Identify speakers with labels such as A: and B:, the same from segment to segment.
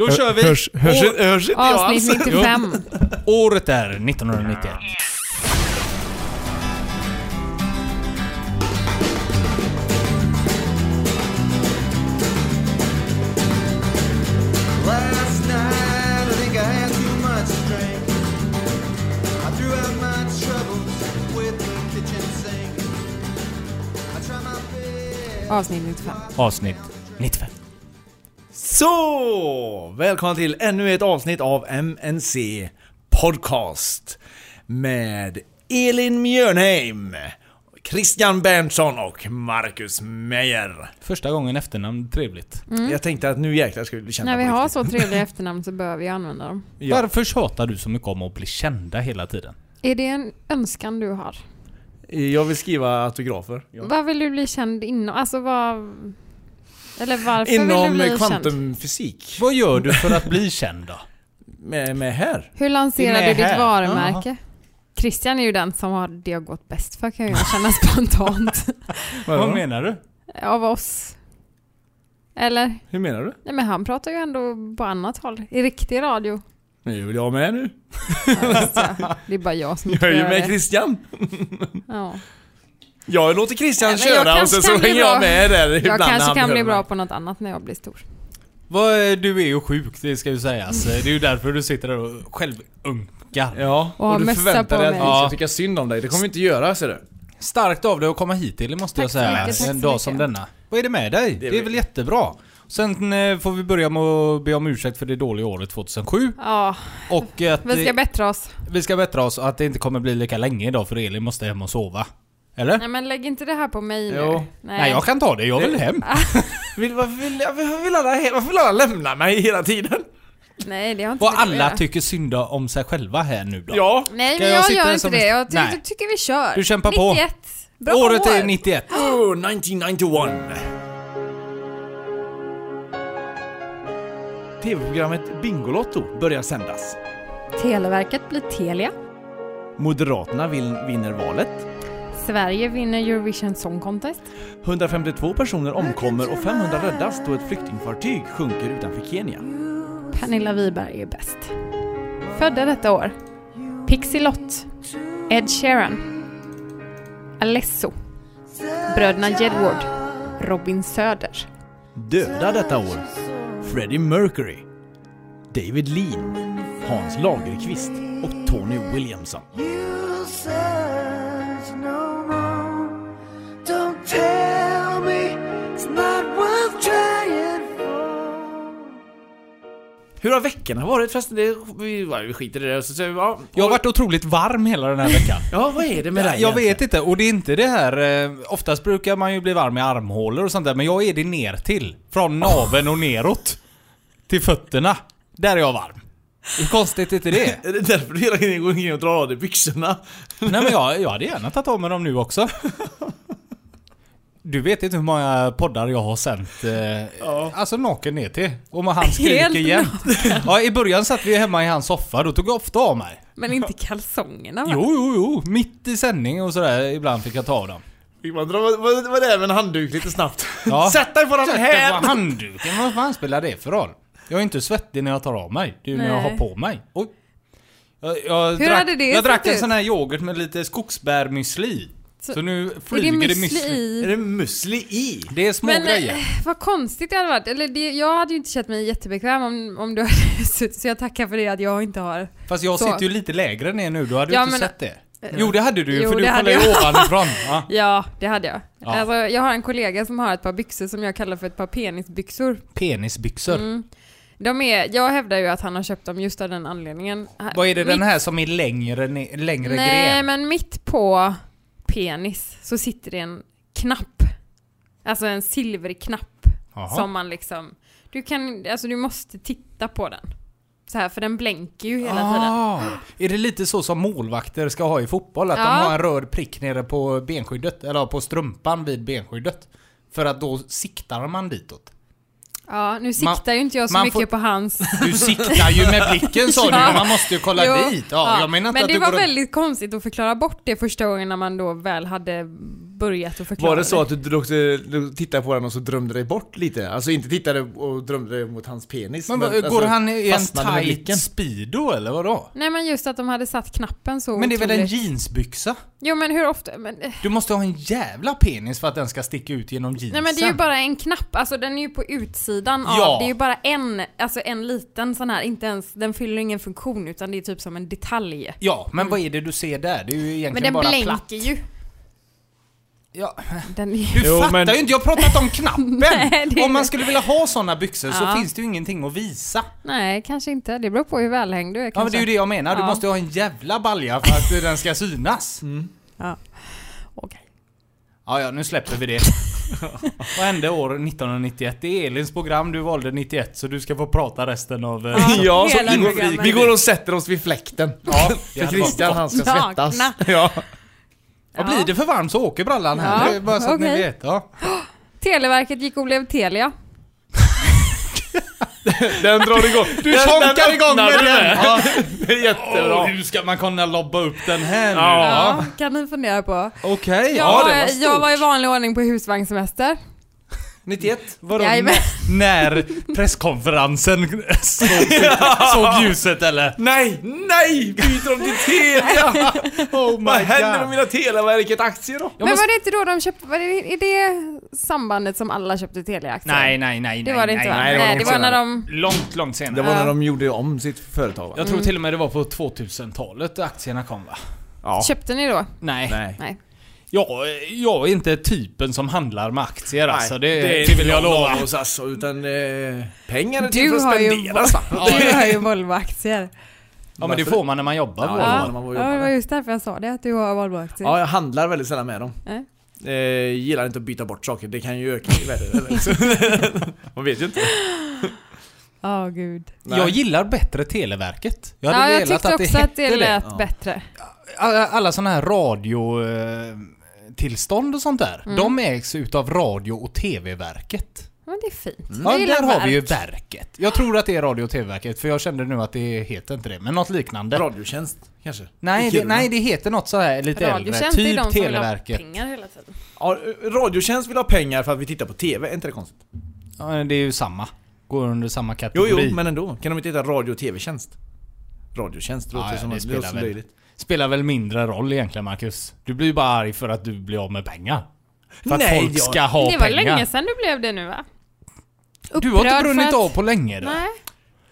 A: Då kör vi!
B: Hörs, hörs,
A: År,
B: hörs inte jag alls?
C: Avsnitt 95.
A: året är 1991.
D: Last night, I think I had too much to drink. I threw out my troubles with the kitchen sink. I tried my best.
C: Avsnitt 95.
A: Avsnitt 95.
B: Så! Välkomna till ännu ett avsnitt av MNC Podcast. Med Elin Mjörnheim, Christian Berntsson och Marcus Meyer.
A: Första gången efternamn, trevligt.
C: Mm.
B: Jag tänkte att nu jäklar skulle vi känna
C: När vi
B: på
C: har
B: riktigt.
C: så trevliga efternamn så behöver vi använda dem.
B: Ja.
A: Varför tjatar du så mycket om att bli kända hela tiden?
C: Är det en önskan du har?
B: Jag vill skriva autografer.
C: Vad vill du bli känd inom? Alltså vad... Eller varför vill du
B: Inom liksom
C: bli känd?
B: kvantumfysik.
A: Vad gör du för att bli känd då?
B: Med, med här.
C: Hur lanserar
B: Nej,
C: du ditt
B: här.
C: varumärke? Christian är ju den som har det har gått bäst för kan jag känna spontant.
A: Vad menar du?
C: Av oss. Eller?
B: Hur menar du?
C: Nej men han pratar ju ändå på annat håll. I riktig radio.
B: Nu vill jag med nu.
C: Ja, just det. det är bara jag som
B: Jag är
C: tror
B: ju
C: jag
B: med
C: vet.
B: Christian.
C: Ja.
B: Jag låter Christian
C: Nej, men jag
B: köra och
C: kanske
B: sen så
C: kan bli
B: hänger jag
C: bra.
B: med där ibland
C: Jag
B: när han
C: kanske kan bli
B: behöver
C: bra
B: mig.
C: på något annat när jag blir stor.
A: Vad, du är ju sjuk, det ska ju sägas. Det är ju därför du sitter där och självunkar.
B: Ja,
C: Och ha
B: och du
C: mössa
B: förväntar
C: på
B: dig att vi
C: mig.
B: ska
A: Ja.
B: tycka synd om dig. Det kommer vi inte göra ser du.
A: Starkt av dig att komma hit till, måste
C: Tack
A: jag
C: så
A: säga.
C: mycket, tack
A: en
C: så
A: dag
C: mycket.
A: som denna. Vad är det med dig? Det är,
B: är
A: väl jättebra. Sen eh, får vi börja med att be om ursäkt för det dåliga året 2007.
C: Ja,
A: Och att
C: vi ska
A: eh,
C: bättra oss.
A: vi ska bättra oss att det inte kommer bli lika länge idag för Elin måste hem och sova. Eller?
C: Nej men lägg inte det här på mig nu.
B: Jo.
C: Nej.
A: Nej, jag kan ta det, jag vill hem.
B: Vill, varför, vill, varför, vill alla, he- varför vill alla lämna mig hela tiden?
C: Nej det har inte
A: Och
C: med det att
A: alla
C: göra.
A: tycker synda om sig själva här nu då.
B: Ja.
C: Nej
A: Ska
C: men
A: jag
C: jag,
A: sitta
C: gör inte
A: som-
C: det. Jag ty-
A: Nej.
C: tycker vi kör.
A: Du kämpar på.
C: 91. Bra
A: Året
C: år.
A: är 91.
B: Oh, 1991. TV-programmet Bingolotto börjar sändas.
C: Televerket blir Telia.
B: Moderaterna vill, vinner valet.
C: Sverige vinner Eurovision Song Contest.
B: 152 personer omkommer och 500 räddas då ett flyktingfartyg sjunker utanför Kenya.
C: Pernilla Wiberg är bäst. Födda detta år. Pixie Lott. Ed Sheeran. Alesso. Bröderna Jedward. Robin Söder.
B: Döda detta år. Freddie Mercury. David Lean. Hans Lagerkvist och Tony Williamson.
D: You search no more. Don't tell me it's not worth trying for.
B: Hur har veckorna varit förresten? Det, vi, vi skiter i det. Så, så, ja.
A: Jag har varit otroligt varm hela den här veckan.
B: ja, vad är det med dig
A: Jag vet
B: egentligen?
A: inte, och det är inte det här... Eh, oftast brukar man ju bli varm i armhålor och sånt där, men jag är det ner till Från naveln och neråt. Till fötterna. Där är jag varm. Hur konstigt är inte det?
B: Är det därför du hela tiden går omkring och drar av dig byxorna?
A: Nej men jag, jag hade gärna tagit av mig dem nu också. Du vet inte hur många poddar jag har sänt. Eh, Alltså naken ner till. Och man- han
C: Helt
A: skriker jämt. Ja, I början satt vi hemma i hans soffa, då tog jag ofta av mig.
C: Men inte kalsongerna va?
A: Jo, jo, jo. Mitt i sändning och sådär, ibland fick jag ta av dem.
B: Fick man dra vad, vad det är med en handduk lite snabbt?
A: Ja.
B: Sätt dig på den
A: Sätta
B: här!
A: på handduken, vad fan spelar det för roll? Jag är inte svettig när jag tar av mig, det är ju när jag
C: Nej.
A: har på mig. Oj. Jag, jag
C: Hur
A: drack,
C: hade det
A: Jag drack
C: sett
A: en
C: ut?
A: sån här yoghurt med lite skogsbärmüsli. i. Så,
C: Så-
A: nu
C: Är det
A: flyger det
C: müsli
A: müsli.
B: Är
C: i?
B: det müsli i?
A: Det är små
C: Men eh,
A: grejer.
C: vad konstigt det hade varit. Eller det, jag hade ju inte känt mig jättebekväm om, om du hade suttit, så jag tackar för det att jag inte har.
A: Fast jag
C: så.
A: sitter ju lite lägre ner nu, då hade
C: Ja,
A: du inte
C: men- Eh,
A: sett det. Jo det hade du ju
C: Jo,
A: för du
C: det hade
A: kollade ju
C: jag.
A: ovanifrån. Ja.
C: Ja, det hade jag.
A: Ja.
C: Alltså, jag har en kollega som har ett par byxor som jag kallar för ett par penisbyxor.
A: Penisbyxor.
C: Mm. De är, jag hävdar ju att han har köpt dem just av den anledningen.
A: Vad är det den
C: Mitt-
A: här som är längre, ne- längre
C: Nej,
A: gren?
C: men mitt på penis så sitter det en knapp. Alltså en silverknapp
A: Jaha.
C: som man liksom... Du kan, alltså du måste titta på den. Så här, för den blänker ju hela tiden.
A: Ah, är det lite så som målvakter ska ha i fotboll? Att
C: Ja.
A: de har en röd prick nere på benskyddet, eller på strumpan vid benskyddet. För att då siktar man ditåt.
C: Ja, nu
A: Man-
C: siktar ju inte jag så
A: man
C: mycket
A: får-
C: på hans...
A: Du siktar ju med blicken sa du,
C: Ja.
A: man måste ju kolla
C: Jo,
A: dit. Ja,
C: ja.
A: Jag menar inte
C: Men
A: att
C: det
A: du
C: var
A: går runt-
C: väldigt konstigt att förklara bort det första gången när man då väl hade börjat att förklara
B: Var det så att du drog- du tittade på den och så drömde dig bort lite? Alltså inte tittade och drömde dig mot hans penis?
A: Men,
B: alltså,
A: går han i en
B: fastnade med blicken?
A: tight speedo eller vadå?
C: Nej men just att de hade satt knappen så
A: Men det är väl en
C: otroligt.
A: jeansbyxa?
C: Jo men hur ofta... Men, eh,
A: Du måste ha en jävla penis för att den ska sticka ut genom jeansen.
C: nej men det är ju bara en knapp, alltså den är ju på utsidan
A: Ja.
C: av. Det är ju bara en, alltså en liten sån här, inte ens, den fyller ingen funktion utan det är typ som en detalj.
A: Ja, men vad är det du ser där? Det är ju egentligen
C: Men den
A: bara
C: blänker
A: platt.
C: ju.
A: Ja.
C: Den är
A: Du
B: Jo,
A: fattar
B: men-
A: ju inte, jag har pratat om knappen!
C: Nej, det är-
A: Om man skulle vilja ha såna byxor
C: Ja.
A: så finns det ju ingenting att visa.
C: Nej, kanske inte. Det beror på hur välhängd du är kanske.
A: Ja men det är ju det jag menar, du
C: Ja. Mm.
A: måste ju ha en jävla balja för att den ska synas.
C: Okej.
A: Ja, ja, nu släpper vi det. Vad hände år 1991? Det är Elins program, du valde 91 så du ska få prata resten av... eh,
C: Ja,
B: Ja,
C: hela
B: så vi, går,
C: programmet.
B: vi går och sätter oss vid fläkten.
A: Ja,
B: För Christian han ska
C: Nakna.
B: svettas. Ja.
A: Ja, blir det för varmt så åker brallan här.
C: Ja,
A: Det är bara så att ni
C: okej.
A: vet. Ja.
C: Televerket gick och blev Telia.
B: Den drar igång.
A: Du
B: den,
A: chonkar
B: den
A: igång med
B: öppnade
A: den!
B: Ja, det är jättebra.
A: Åh, hur ska man kunna lobba upp den här nu?
B: Ja.
C: kan ni fundera på.
A: Okej.
C: Jag,
B: Ja, det var
C: var
B: stort.
C: jag var i vanlig ordning på husvagnssemester.
B: 91.
A: Vadå,
C: Jajamän.
A: n- när presskonferensen såg, såg ljuset eller?
B: Nej, nej! Byter de till Telia?
A: Oh
B: Vad händer med mina Televerket-aktier då?
C: Men var det inte då de köpte, var det, är det sambandet som alla köpte Telia-aktier?
A: Nej, nej, nej,
C: Det var det
A: nej,
C: inte va?
A: nej,
B: det
C: Nej,
B: var
C: det var,
B: långt
C: när
B: senare.
C: de...
A: Långt, långt senare.
B: Det var Mm. när
C: Ja.
B: de gjorde om sitt företag va?
A: Jag tror till och med det var på 2000-talet aktierna kom va?
B: Ja.
C: Köpte ni då?
A: Nej.
B: Nej.
C: Nej.
A: Jag, jag är inte typen som handlar med aktier alltså. Det,
B: är
A: det,
B: inte
A: vill jag
B: någon
A: lova.
B: av oss alltså, utan eh, pengar är till för
C: Du
B: att alltså.
C: har ju...
B: spenderas va?
C: Du har ju Volvo-aktier.
A: Ja men det
B: Varför?
A: får man när man jobbar.
B: Ja.
A: va?
B: när man var och
C: ja, det var
B: jobbade.
C: just därför jag sa det, att du har Volvo-aktier.
B: Ja, jag handlar väldigt sällan med dem.
C: Nej.
B: Eh, gillar inte att byta bort saker, det kan ju öka i värde. eller? Så- Man vet ju inte.
C: Ja, gud.
B: Nej.
A: Jag gillar bättre Televerket. Jag
C: Ja,
A: hade
C: jag
A: velat
C: tyckte
A: att det
C: också
A: hette
C: att det lät
B: Ja.
C: bättre.
A: Alla, alla sådana här radio... Eh, tillstånd och sånt där.
C: Mm.
A: De ägs utav Radio och TV-verket.
C: Men det är fint.
A: Mm. Ja,
C: Jag Mm. gillar
A: där har vi ju
C: verk.
A: verket. Jag tror att det är Radio och TV-verket för jag kände nu att det heter inte det, men något liknande.
B: Radiotjänst kanske? I
A: nej, det,
B: Kiruna.
A: nej, det heter något så här lite äldre.
C: Radiotjänst är de
A: Typ
C: som vill ha
A: Televerket.
C: pengar hela tiden.
B: Ja, eh, Radiotjänst vill ha pengar för att vi tittar på TV, är inte det konstigt?
A: Ja, det är ju samma. Går under samma
B: Jo,
A: kategori.
B: jo, men ändå. Kan de inte heta radio och TV-tjänst? Radiotjänst, det
A: Ja,
B: låter
A: Ah, ja,
B: som
A: det
B: att det
A: spelar
B: låter så
A: väl.
B: löjligt.
A: Spelar väl mindre roll egentligen Marcus? Du blir ju bara arg för att du blir av med pengar. För att
B: Nej,
A: folk
B: jag-
A: ska ha
C: det var
A: pengar.
C: länge sedan du blev det nu va?
A: Du har inte
C: Upprörd för
A: brunnit
C: att-
A: av på länge då?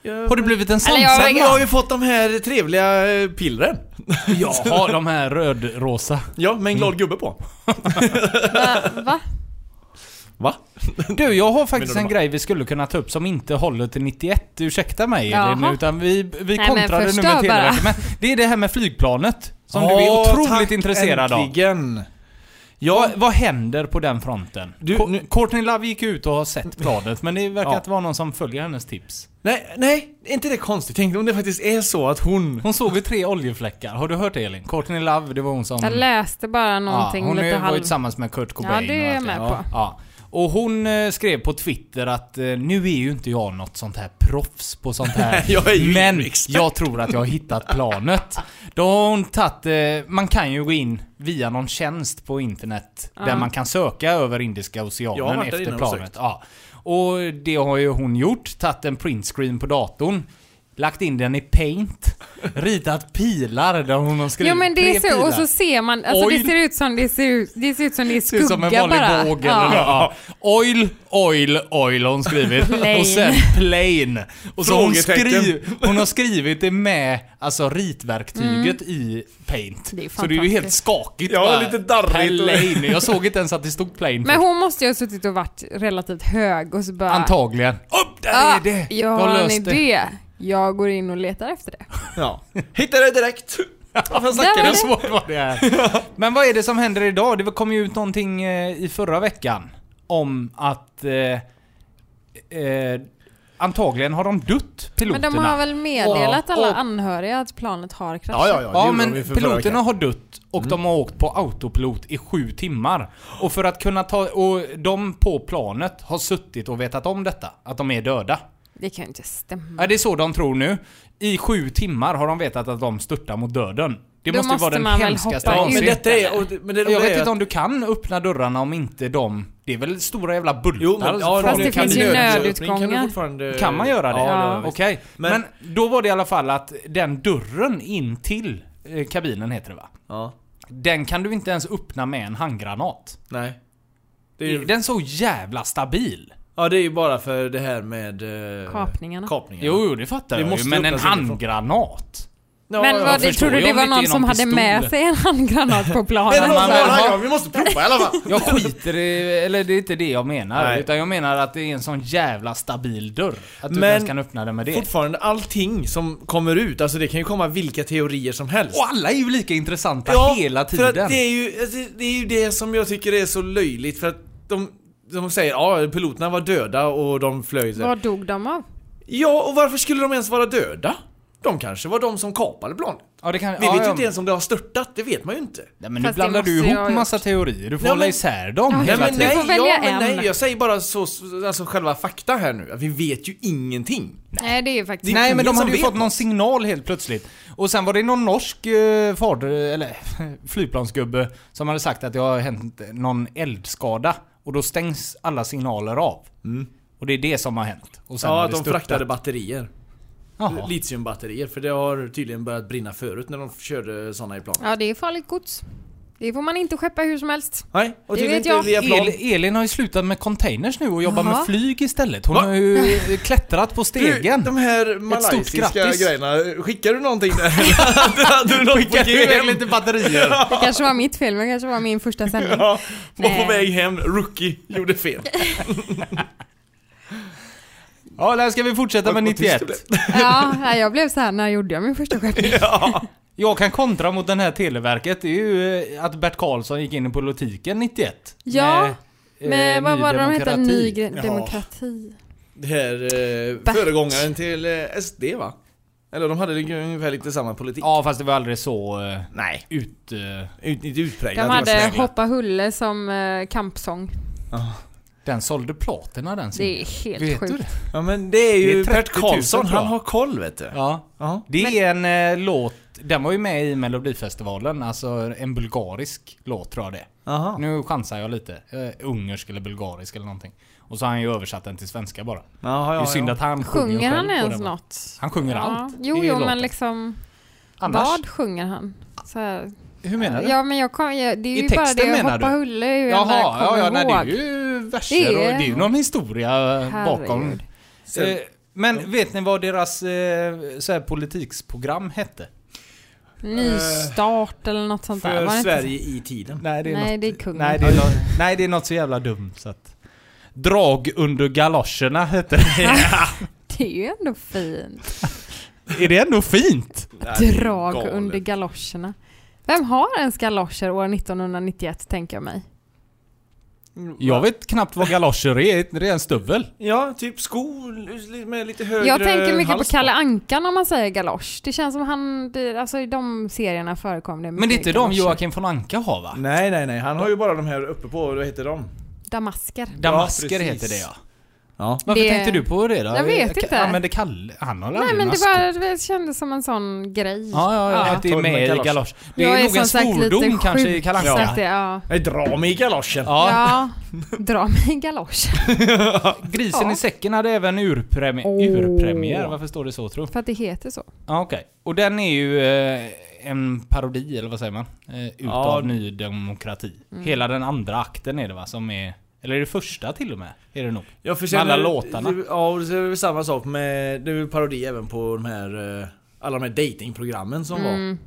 C: Nej.
A: Har du blivit en
C: Eller jag-
A: sansad?
B: Sen har vi fått de här trevliga eh, pillren.
A: Jaha, de här rödrosa.
B: Ja, med en glad gubbe på.
C: Va? va?
B: Va?
A: Du, jag har faktiskt
B: Menar
A: en
B: du
A: grej vi skulle kunna ta upp som inte håller till 91. Ursäkta mig
C: Jaha.
A: Elin, utan vi, vi
C: men
A: kontrade nu
C: förstör
A: med
C: bara.
A: Televerket. Men det är det här med flygplanet som du är
B: Ja,
A: otroligt
B: tack,
A: intresserad av.
B: äntligen.
A: Ja, vad händer på den fronten?
B: Du,
A: Co-
B: nu-
A: Courtney Love gick ut och har sett planet, men det verkar
B: Ja.
A: inte vara någon som följer hennes tips.
B: Nej, nej, är inte det konstigt? Tänk om det faktiskt är så att hon...
A: Hon såg ju tre oljefläckar. Har du hört det Elin? Courtney Love, det var hon som...
C: Jag läste bara
A: Mm. Ja,
C: någonting
A: hon har
C: lite
A: ju varit
C: halv...
A: tillsammans med Kurt
C: Ja,
A: Cobain
C: det
A: och
C: är jag
A: allt
C: med
B: Ja.
C: på.
A: Ja. Och hon eh, skrev på Twitter att eh, nu är ju inte jag något sånt här proffs på sånt här.
B: Jag är ju
A: men
B: ingen expert.
A: jag tror att jag har hittat planet. Då har hon tagit, eh, man kan ju gå in via någon tjänst på internet där
C: Ja.
A: man kan söka över Indiska
B: Jag har
A: oceanen
B: varit där
A: efter
B: innan och
A: planet.
B: sökt.
A: Ja. Och det har ju hon gjort, tagit en printscreen på datorn. Lagt in den i paint, ritat pilar där hon har skrivit
C: Jo men det är
A: tre
C: så, och
A: pilar.
C: så ser man, alltså
A: Oj.
C: det ser ut som det ser ut, det ser ut som det är
A: Det
C: skugga
A: är som en vanlig
C: bara.
A: båg eller något. ja. Oil, oil, oil har hon skrivit.
C: Plain.
A: Och sen plain. Och så har hon,
B: Frågetecken.
A: skriv, hon har skrivit det med alltså ritverktyget i paint.
C: Mm. Det är
A: så det är ju helt
C: fantastiskt.
A: skakigt.
B: Ja,
A: bara.
B: lite darrigt och-
A: Plain. Jag såg inte ens att det stod plain.
C: Men
A: först.
C: hon måste ju ha suttit och varit relativt hög och så bara...
A: Antagligen. Upp, där
C: Ah,
A: är det!
C: Jag
A: De
C: har en
A: löste-
C: idé. Jag går in och letar efter det.
B: Ja. Hittade det direkt! Varför
C: Där
B: snackar
C: var
B: du
C: det.
B: så?
A: Svårt var det här. Men vad är det som händer idag? Det kom ju ut någonting eh, i förra veckan om att eh, eh, antagligen har de dött
C: Men
A: piloterna.
C: de har väl meddelat
A: Ja,
C: alla
A: och-
C: anhöriga att planet har kraschat?
B: Ja, ja, ja. det
A: Ja
B: gjorde
A: men
B: de ju för förra
A: piloterna
B: veckan. Mm.
A: har dött och de har åkt på autopilot i sju timmar. Och för att kunna ta... Och de på planet har suttit och vetat om detta. Att de är döda.
C: Det kan ju inte stämma.
A: Ja, det är så de tror nu. I sju timmar har de vetat att de störtar mot döden. Det
C: Då
A: måste ju
C: måste
A: vara den
C: man väl
A: hemskaste
C: hoppa
B: Ja,
C: ut.
A: avsnittet.
B: men detta är... Och, men det
A: Jag
B: roliga
A: vet
B: är
A: inte
B: att-
A: om du kan öppna dörrarna om inte de... Det är väl stora jävla bultar?
B: Jo, men, ja,
A: Från-
C: Fast det
B: kan
C: finns
B: du-
C: ju
B: kan du
C: nödutgångar.
B: fortfarande-
A: Kan man göra det?
B: Ja,
C: Ja.
B: visst.
A: Okej. Men,
B: Men-
A: då var det i alla fall att den dörren in till eh, kabinen heter det va?
B: Ja.
A: Den kan du inte ens öppna med en handgranat.
B: Nej. Det är
A: Är
B: ju,
A: den så jävla stabil?
B: ja, det är ju bara för det här med... Eh,
C: Kapningarna.
B: kapningarna.
A: Jo, jo, det fattar
B: Det
A: jag ju.
B: måste
A: Men en
B: öppnas inifrån.
A: handgranat?
B: Ja,
C: men
B: ja,
C: vad,
B: för-
A: förstår
C: tror
A: jag
C: du det
A: om
C: var
A: det inte
C: någon
A: är
C: som
A: någon
C: hade
A: pistol.
C: med sig en handgranat på
B: Nej,
C: planen?
B: men
A: man
B: vad
A: vill
B: fan,
A: ha-
B: ja, Vi måste prova i alla fall!
A: Jag skiter i... Eller det är inte det jag menar.
B: Nej.
A: Utan jag menar att det är en sån jävla stabil dörr. Att du
B: Men-
A: ens kan öppna den med det.
B: Fortfarande allting som kommer ut, alltså det kan ju komma vilka teorier som helst.
A: Och alla är ju lika intressanta hela
B: för
A: tiden.
B: att det är, ju, alltså, det är ju det som jag tycker är så löjligt för att de, de säger ja, piloterna var döda och de flög så här.
C: Vad dog de av?
B: Ja, och varför skulle de ens vara döda? De kanske var de som kapade planet.
A: Ja, det kan...
B: Vi
A: ja,
B: vet ju
A: ja.
B: inte ens om det har störtat, det vet man ju inte.
A: Nej, men nu
C: Fast det
A: blandar du
C: måste
A: ihop
C: jag ha
A: massa teorier. Du får
B: Ja,
A: hålla
B: men-
A: isär dem
B: Nej
A: hela
B: men
A: tiden.
B: nej,
C: Du får välja
B: ja, men
C: en.
B: nej, jag säger bara så, så- alltså själva fakta här nu. att Vi vet ju ingenting.
C: Nej, det är ju faktiskt...
A: Nej men
B: ingen
A: de
B: som
A: hade ju
B: liksom vet
A: fått
B: något.
A: någon signal helt plötsligt. Och sen var det någon norsk eh, fard, eller flygplansgubbe som hade sagt att det har hänt någon eldskada. Och då stängs alla signaler av. Och det är det som har hänt. Och sen
B: Ja,
A: har
B: att
A: det
B: de
A: störtat.
B: fraktade batterier.
A: Jaha.
B: Litiumbatterier, för det har tydligen börjat brinna förut när de körde såna i plan.
C: Ja, det är farligt gods. Det får man inte skeppa hur som helst.
B: Nej, och
C: Det
B: tydligen
C: vet jag.
B: inte via plan.
A: El, Elin har ju slutat med containers nu och jobbar med
C: Jaha.
A: flyg istället. Hon
B: Va?
A: har ju klättrat på stegen.
B: Du, de här
A: stort
B: malaysiska
A: grattis.
B: grejerna, skickar du någonting där? Hade du något på GM?
A: lite batterier.
C: Det kanske var mitt fel, men det kanske var min första sändning.
B: Ja, var
C: Nej.
B: på väg hem, rookie, gjorde fel.
A: ja, där ska vi fortsätta med
B: Vad- vad tyst
A: 91.
B: det blev.
C: Ja, nej, jag blev så här när gjorde jag min första skeppning?
A: Jag kan kontra mot den här Televerket. Det är ju eh, att Bert Karlsson gick in i politiken 91.
C: Ja,
A: Med, eh,
C: Men vad
A: Ny
C: var det de hette?
A: Demokrati.
C: Ny gre-
B: Ja.
C: demokrati?
B: Det här eh,
C: Bert.
B: föregångaren till eh, SD va? Eller de hade ju ungefär lite samma politik.
A: Ja, fast det var aldrig så eh,
B: Nej,
A: ut... eh,
B: ut, inte utpräglat.
C: De
B: det var
C: hade
B: snälla.
C: Hoppa Hulle som eh, kampsång.
A: Den sålde platina den
C: Det är
A: singeln.
C: helt
A: Vet du
C: sjukt.
A: det?
B: Ja men det är
A: Det
B: ju
A: är 30
B: Bert
A: 000
B: Karlsson,
A: tror jag.
B: han har koll vet du.
A: Ja.
B: Ja.
A: Det är en eh, låt... Den var ju med i Melodifestivalen. Alltså en bulgarisk låt tror jag det är.
B: Aha.
A: Nu chansar jag lite. Eh, ungersk eller bulgarisk eller någonting. Och så har han ju översatt den till svenska bara.
B: Jaha,
A: det
B: ja,
A: är synd att han sjunger
C: Sjunger
A: själv
C: han
A: på
C: ens
A: den.
C: något?
A: Han sjunger
C: Ja.
A: allt.
C: Jo,
A: i
C: jo,
A: låten.
C: men liksom...
A: Annars?
C: Vad sjunger han? Så här.
A: Hur menar du?
C: Ja, men jag kom, jag, det är
A: I
C: ju bara
A: texten
C: det
A: menar
C: Hoppa
A: du?
C: Hulle är ju den där jag
A: Jaha, ja,
C: kommer
A: ja, nej, det är
C: ihåg.
A: ju verser
C: Det är-
A: och det är ju någon historia eh, bakom.
C: Herregud.
B: Sen-
A: Eh, men vet ni vad deras eh, så här, politiksprogram hette?
C: Nystart eller något sånt där.
B: För
C: Var det inte så?
B: Sverige i tiden.
A: Nej,
C: Nej, det är kungen.
A: nej, det är något, nej, det är något så jävla dumt så att... Drag under galoscherna hette det.
C: Det är ju ändå fint.
A: Är det ändå fint?
C: Drag under galoscherna. Vem har ens galoscher år 1991 tänker jag mig?
A: Jag vet knappt vad galoscher är. Det är en stövel.
C: Mm.
B: Ja, typ sko med lite högre
C: Jag
A: eh,
C: tänker mycket på
B: hals
C: Kalle Anka när man säger galosch. Det känns som han, det, alltså i de serierna förekom det
A: Men det är inte de
C: galoscher.
A: Joakim von Anka har va?
B: Nej, nej, nej. Han har ju bara de här uppe på, vad heter de?
C: Damasker.
A: Damasker
B: Ja, precis.
A: heter det ja.
B: Ja.
A: Varför
C: Det-
A: tänkte du på det då?
C: Jag vet inte.
A: Använde Kalle? Han har
C: Nej
A: aldrig
C: men
A: några
C: det,
A: skor.
C: var, det kändes som en sån grej.
A: Ja, ja, ja. Att det är
B: Torg med
A: med i
B: galosch.
A: galosch. Det är,
C: Jag
A: nog en
C: som sagt lite
A: svordom
C: sjuk,
A: kanske i Kalle
C: så
A: Anka.
C: att det- ja.
B: Nej, dra mig i galoschen!
A: Ja.
C: Ja, dra mig i galosch.
A: Grisen
C: Ja.
A: i säcken hade även urpremi-
C: Åh.
A: urpremiär. Varför står det så tror
C: För att det heter så.
A: Ja, okej. Och den är ju eh, en parodi, eller vad säger man? Eh, utav
B: Ja.
A: Ny Demokrati.
C: Mm.
A: Hela den andra akten är det va? Som är... Eller är det första till och med? Är det nog?
B: Jag
A: Med alla låtarna.
B: det- Ja, och det är väl samma sak med... Det är väl parodi även på de här... eh, Alla de här datingprogrammen som var
C: Mm.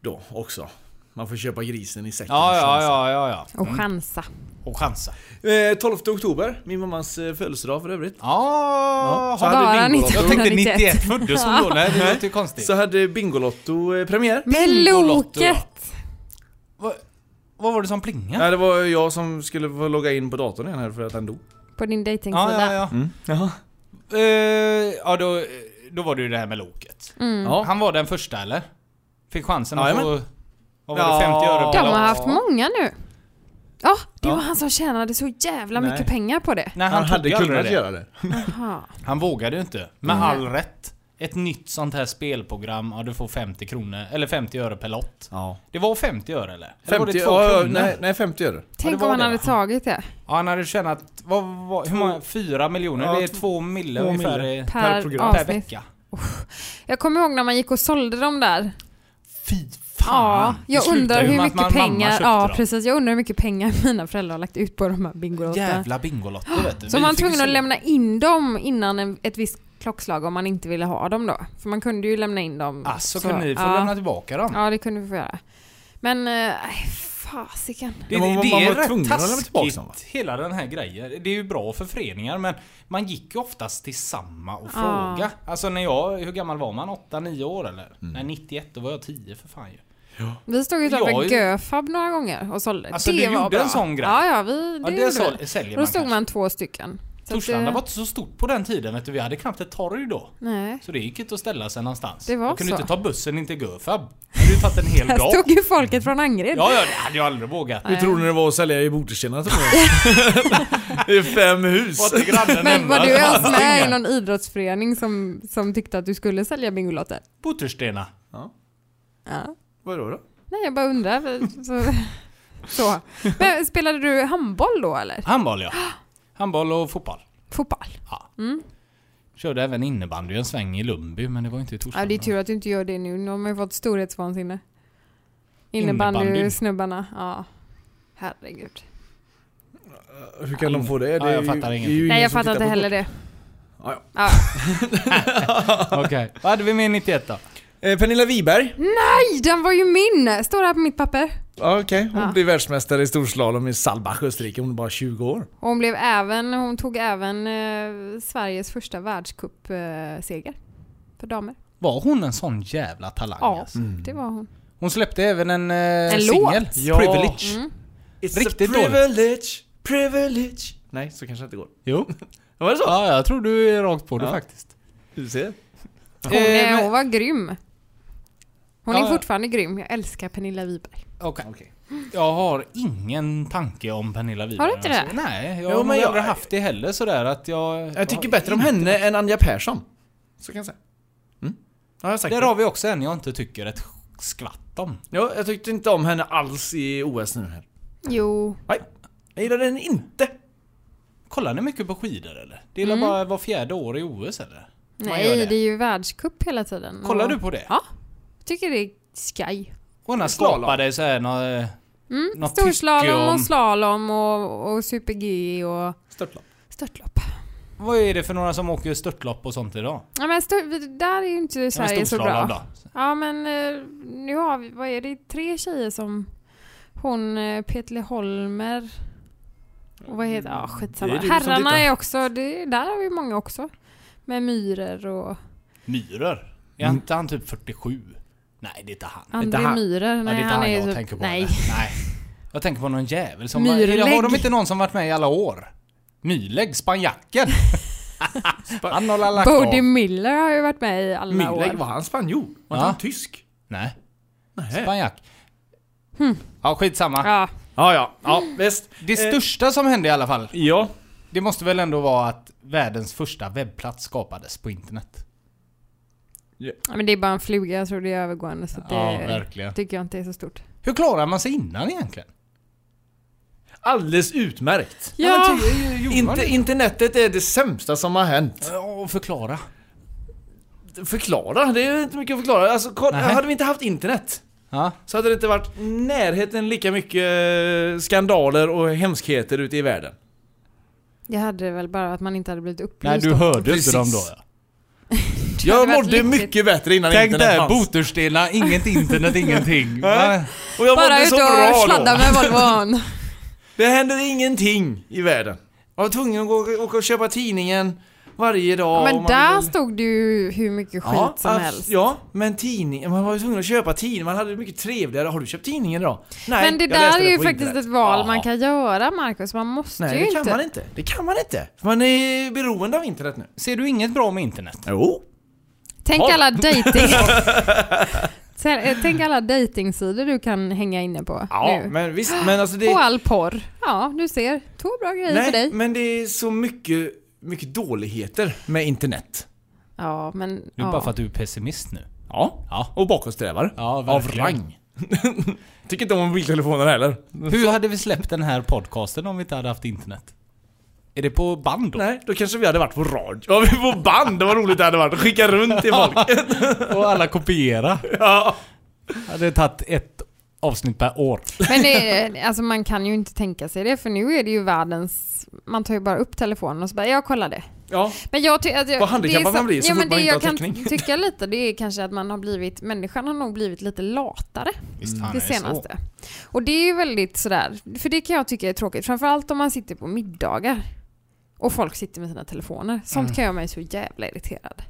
B: då också. Man får köpa grisen i säcken.
A: Ja, ja,
B: känns
A: ja, ja, ja.
C: Och chansa.
A: Och chansa.
B: det. Eh, 12 oktober, min mammas eh, födelsedag för övrigt.
A: Ja,
B: så
A: har-
B: hade
C: Bara
B: Bingolotto-
C: 1991.
A: jag tänkte 91 föddes hon då? Nej, det låter ju konstigt.
B: Så hade Bingolotto eh, premiär.
C: Med
A: Bingolotto.
C: loket!
A: Vad, vad var det som plingade?
B: Ja, det var jag som skulle få logga in på datorn igen här för att den dog.
C: På din
A: Ja,
C: dejtingsida.
A: ja, ja.
B: Jaha.
A: Eh, ja, då, då var det ju det här med loket.
C: Mm.
B: Ja.
A: Han var den första eller? Fick chansen att
B: Jajamän.
A: få... Vad var det?
B: Ja.
A: 50 öre
C: De
A: per
C: har
A: lock?
C: haft många nu. Ja, det
B: Ja.
C: var han som tjänade så jävla
B: Nej.
C: mycket pengar på det.
A: Nej,
B: Han,
A: han,
B: hade
A: tog ju aldrig
B: kunnat
A: det.
B: göra det.
C: Jaha.
A: Mm. Han vågade ju inte. Med all rätt. Ett nytt sånt här spelprogram, ja du får 50 kronor, eller 50 öre per lott.
E: Ja.
A: Det var 50 öre eller? eller var
B: 50,
A: det 2
B: ja,
A: kronor?
B: nej, nej, 50 öre.
A: det
C: Tänk
A: var
C: om han
A: det,
C: hade
A: va?
C: tagit det.
A: Ja, han hade tjänat, vad, vad, hur många? 4 miljoner?
B: Ja,
A: det är
B: två-
A: 2 mille
E: två
A: ungefär
E: mille.
A: i-
C: Per
A: program. per
C: avsnitt.
A: vecka.
C: Jag kommer ihåg när man gick och sålde dem där.
A: Fy
C: Ja,
A: fan!
C: jag
A: Det slutar
C: undrar
A: ju
C: hur
A: med att
C: mycket
A: man- mamma
C: pengar...
A: köpte
C: Ja,
A: dem.
C: precis. Jag undrar hur mycket pengar mina föräldrar har lagt ut på de här bingolotterna.
A: Jävla Bingolotter vet du.
C: Så
A: Vi
C: man var
A: fick liksom ju
C: tvungen att
A: se-
C: lämna in dem innan en, ett visst klockslag om man inte ville ha dem då. För man kunde ju lämna in dem.
A: Ah, så kunde ni få
C: ja.
A: lämna tillbaka dem.
C: Ja, det kunde vi få göra. Men, eh, aj, fasiken.
A: Det,
B: Ja, men
A: det,
B: man-
A: det
B: man
A: är
B: var
A: rätt
B: tvungen att lämna
A: taskigt,
B: tillbaka dem, va?
A: hela den här grejen. Det är ju bra för föreningar men man gick ju oftast till samma och
C: Ja.
A: fråga. Alltså när jag, hur gammal var man? 8-9 år eller?
B: Mm.
A: Nej 91, då var jag 10 för fan ju.
C: Vi stod utanför
A: Jag är-
C: Göfab några gånger och sålde.
A: Alltså,
C: det
A: du
C: var
A: gjorde
C: bra.
A: en sån grej?
C: Ja, ja, vi,
A: Ja,
C: det,
A: det,
C: gjorde
A: sål-
C: vi.
A: säljer
C: Och då
A: man
C: stod
A: kanske.
C: man två stycken. Så att
A: Torslanda
C: det-
A: var inte så stort på den tiden vet du. Vi hade knappt ett torg då.
C: Nej.
A: Så det gick inte att ställa sig någonstans.
C: Det var
A: jag kunde
C: så.
A: inte ta bussen in till Göfab. Det hade ju tagit en hel
C: Här
A: dag.
C: stod ju folket från Angered.
A: Ja, ja, det hade jag aldrig vågat.
B: Hur tror ni det var att sälja i Boterstena till mig? Det är fem hus.
A: Var inte grannen
C: Men
A: hemma?
C: var du
A: Det
C: ens
A: fanns
C: med
A: inga.
C: i någon idrottsförening som, som tyckte att du skulle sälja Bingolotter?
A: Botterstena.
C: Ja.
B: Vadå då?
C: Nej, jag bara undrar. för- Så. så. Men spelade du handboll då eller?
A: Handboll ja. Handboll och fotboll.
C: Fotboll?
A: Körde även innebandy en sväng i Lundby men det var inte i Torslanda.
C: Ja, det är tur att du inte gör det nu. Nu har man ju fått storhetsvansinne.
A: Innebandy.
C: Innebandy-snubbarna. Ja. Herregud.
B: Hur kan de få det? det
A: Ja, jag
B: är ju-
A: fattar
B: det är ju
A: ingenting.
B: ingen
C: Nej, jag
B: som
C: fattar
B: tittar
C: inte
B: på
C: heller det.
B: Ja, ja.
C: Ja.
A: Okej. Vad hade vi med i 91 då?
B: Eh, Pernilla Wiberg.
A: Mm.
C: Nej, den var ju min! Står här på mitt papper.
B: Ja, Okej, hon
C: Ja.
B: blir världsmästare i storslalom i Salbach, Österrike. Hon är bara 20 år.
C: Och Hon, blev även, hon tog även eh, Sveriges första världscupseger eh, seger för damer.
A: Var hon en sån jävla talang?
C: Ja,
A: alltså?
C: det var hon.
A: Hon släppte även en eh,
C: En
A: singel.
C: låt. Mm.
B: Ja.
A: Privilege.
B: It's
A: Riktigt
B: a
A: dåligt.
B: privilege, privilege. Nej, så kanske det inte går.
A: Jo.
B: Var det så?
A: Ja, jag tror du är rakt på det
B: Ja.
A: faktiskt.
B: Du ser.
C: Hon,
A: Eh,
C: är-
A: men-
C: hon var grym. Hon
A: Ja,
C: är
A: ja.
C: fortfarande grym. Jag älskar Pernilla Wiberg.
A: Okej.
B: Okej.
A: Jag har ingen tanke om Pernilla Wiberg.
C: Har du inte det?
A: Alltså, nej, jag
B: Jo,
A: har
B: men
A: nog
B: jag-
A: aldrig haft det heller sådär att jag...
B: Jag tycker bättre om henne än Anja Persson. Så kan jag säga. Mm. Ja, jag har sagt
A: Där
B: det.
A: har vi också en jag inte tycker ett skvatt om.
B: Ja, jag tyckte inte om henne alls i OS nu här.
C: Jo.
B: Nej, jag gillade henne inte.
A: Kollar ni mycket på skidor eller? Det är väl bara var fjärde år i OS eller? Man gör
C: Nej, det. är ju världscup hela tiden.
A: Kollar
C: Och-
A: du på det?
C: Ja. Tycker det är sky.
A: Hon har
B: Slalom.
A: skapat dig såhär något... något tycke
C: Mm, Storslalom
A: om-
C: och slalom och, och super-G och
B: Störtlopp.
C: störtlopp.
A: Vad är det för några som åker störtlopp och sånt idag?
C: Ja, men stör, där är ju inte
A: Ja, men
C: Sverige så bra.
A: storslalom då.
C: Ja men eh, nu har vi, vad är det, tre tjejer som hon eh, Petle Holmer och vad heter, ja
A: Mm,
C: ah, skitsamma.
B: Det är du som
C: Herrarna
B: tittar.
C: är också, det, där har vi många också. Med Myhrer och
A: Myror? Är inte han typ 47? Nej det är inte han.
B: Inte
C: André
B: han.
C: Myhrer.
A: ja, det är
C: Nej,
A: inte
C: han
A: han
C: är
A: jag
C: typ-
A: tänker på.
C: Nej.
A: eller? nej. Jag tänker på någon jävel som...
C: Myrlägg.
A: Har de inte någon som varit med i alla år? Mylägg, spanjacken! han har lagt av.
C: Bodie Miller har ju varit med i alla
B: Myhlegg,
C: år.
B: var han spanjor?
A: Ja.
B: Var inte han tysk?
A: Nej,
B: Nej.
A: spanjack. Ja, skitsamma.
C: Ja,
B: Ja, ja, ja, visst.
A: Det största som hände i alla fall,
B: Ja.
A: det måste väl ändå vara att världens första webbplats skapades på internet.
C: men det är bara en fluga, jag tror det är övergående så att det
A: Ja, verkligen.
C: tycker jag inte är så stort.
A: Hur klarar man sig innan egentligen?
B: Alldeles utmärkt.
C: Ja,
B: Inte, internetet är det sämsta som har hänt.
A: Ja, förklara.
B: Förklara, det är inte mycket att förklara. Alltså, kolla,
A: Nej.
B: hade vi inte haft internet
A: Ja.
B: så hade det inte varit närheten lika mycket eh, skandaler och hemskheter ute i världen.
C: det hade väl bara att man inte hade blivit upplyst.
A: Nej, du
C: om-
A: hörde
B: Precis.
A: inte dem då ja.
C: Det hade
B: Jag
C: varit
B: mådde
C: lyckligt.
B: mycket bättre innan
A: Tänk
B: internet
A: där,
B: fanns. Eh?
A: Boterstena, inget internet, ingenting. Va?
B: Och jag
C: Bara
B: mådde
C: ut
B: så bra
C: och
B: då.
C: sladda med Volvon.
B: Det händer ingenting i världen. Jag var tvungen att gå, åka och köpa tidningen varje dag. om
C: men
B: man
C: där
B: ville-
C: stod det ju hur mycket skit
B: ja, alltså,
C: som
B: abs-
C: helst.
B: Ja, men tidningen, man var ju tvungen att köpa tidningen, man hade det mycket trevligare. Har du köpt tidningen idag? Nej,
C: men det
B: jag läste
C: där är ju
B: på
C: faktiskt
B: internet.
C: ett val
B: Ja.
C: man kan göra Marcus, man måste
B: Nej,
C: ju
B: det
C: inte.
B: kan man inte. Det kan man inte. För Man är beroende av internet nu.
A: Ser du inget bra med internet?
B: Jo.
C: Tänk
B: Ja.
C: alla dating... Sen- eh, Tänk alla datingsidor du kan hänga inne på
B: Ja,
C: nu.
B: men visst, men alltså det...
C: Och all porr. Ja, du ser. Två bra grejer
B: Nej,
C: för dig.
B: men det är så mycket, mycket dåligheter med internet.
C: Ja, men...
A: Det är
C: ja.
A: bara för att du är pessimist nu.
B: Ja.
A: Ja.
B: Och bakåtsträvare.
A: Ja,
B: Av
A: verkligen.
B: rang. Tycker inte om mobiltelefoner heller.
A: Hur hade vi släppt den här podcasten om vi inte hade haft internet? Är det på band då?
B: Nej, då kanske vi hade varit på radio. Ja, vi på band. Det var roligt det hade varit. Skicka runt till folk.
A: Och alla kopiera?
B: Ja.
A: Hade tagit ett avsnitt per år.
C: Men det, alltså man kan ju inte tänka sig det för nu är det ju världens... Man tar ju bara upp telefonen och så bara, jag kollar det.
B: ja.
C: Men jag tycker att... jag-
B: Vad handikappad
C: det är
B: man blir så
C: ja,
B: fort
C: men det
B: man inte
C: jag
B: har
C: kan
B: täckning.
C: tycka lite det är kanske att man har blivit... Människan har nog blivit lite latare.
A: Visst, fan
C: det
A: är det så.
C: senaste. Och det är ju väldigt sådär, för det kan jag tycka är tråkigt. Framförallt om man sitter på middagar och folk sitter med sina telefoner. Sånt kan göra mig så jävla irriterad. När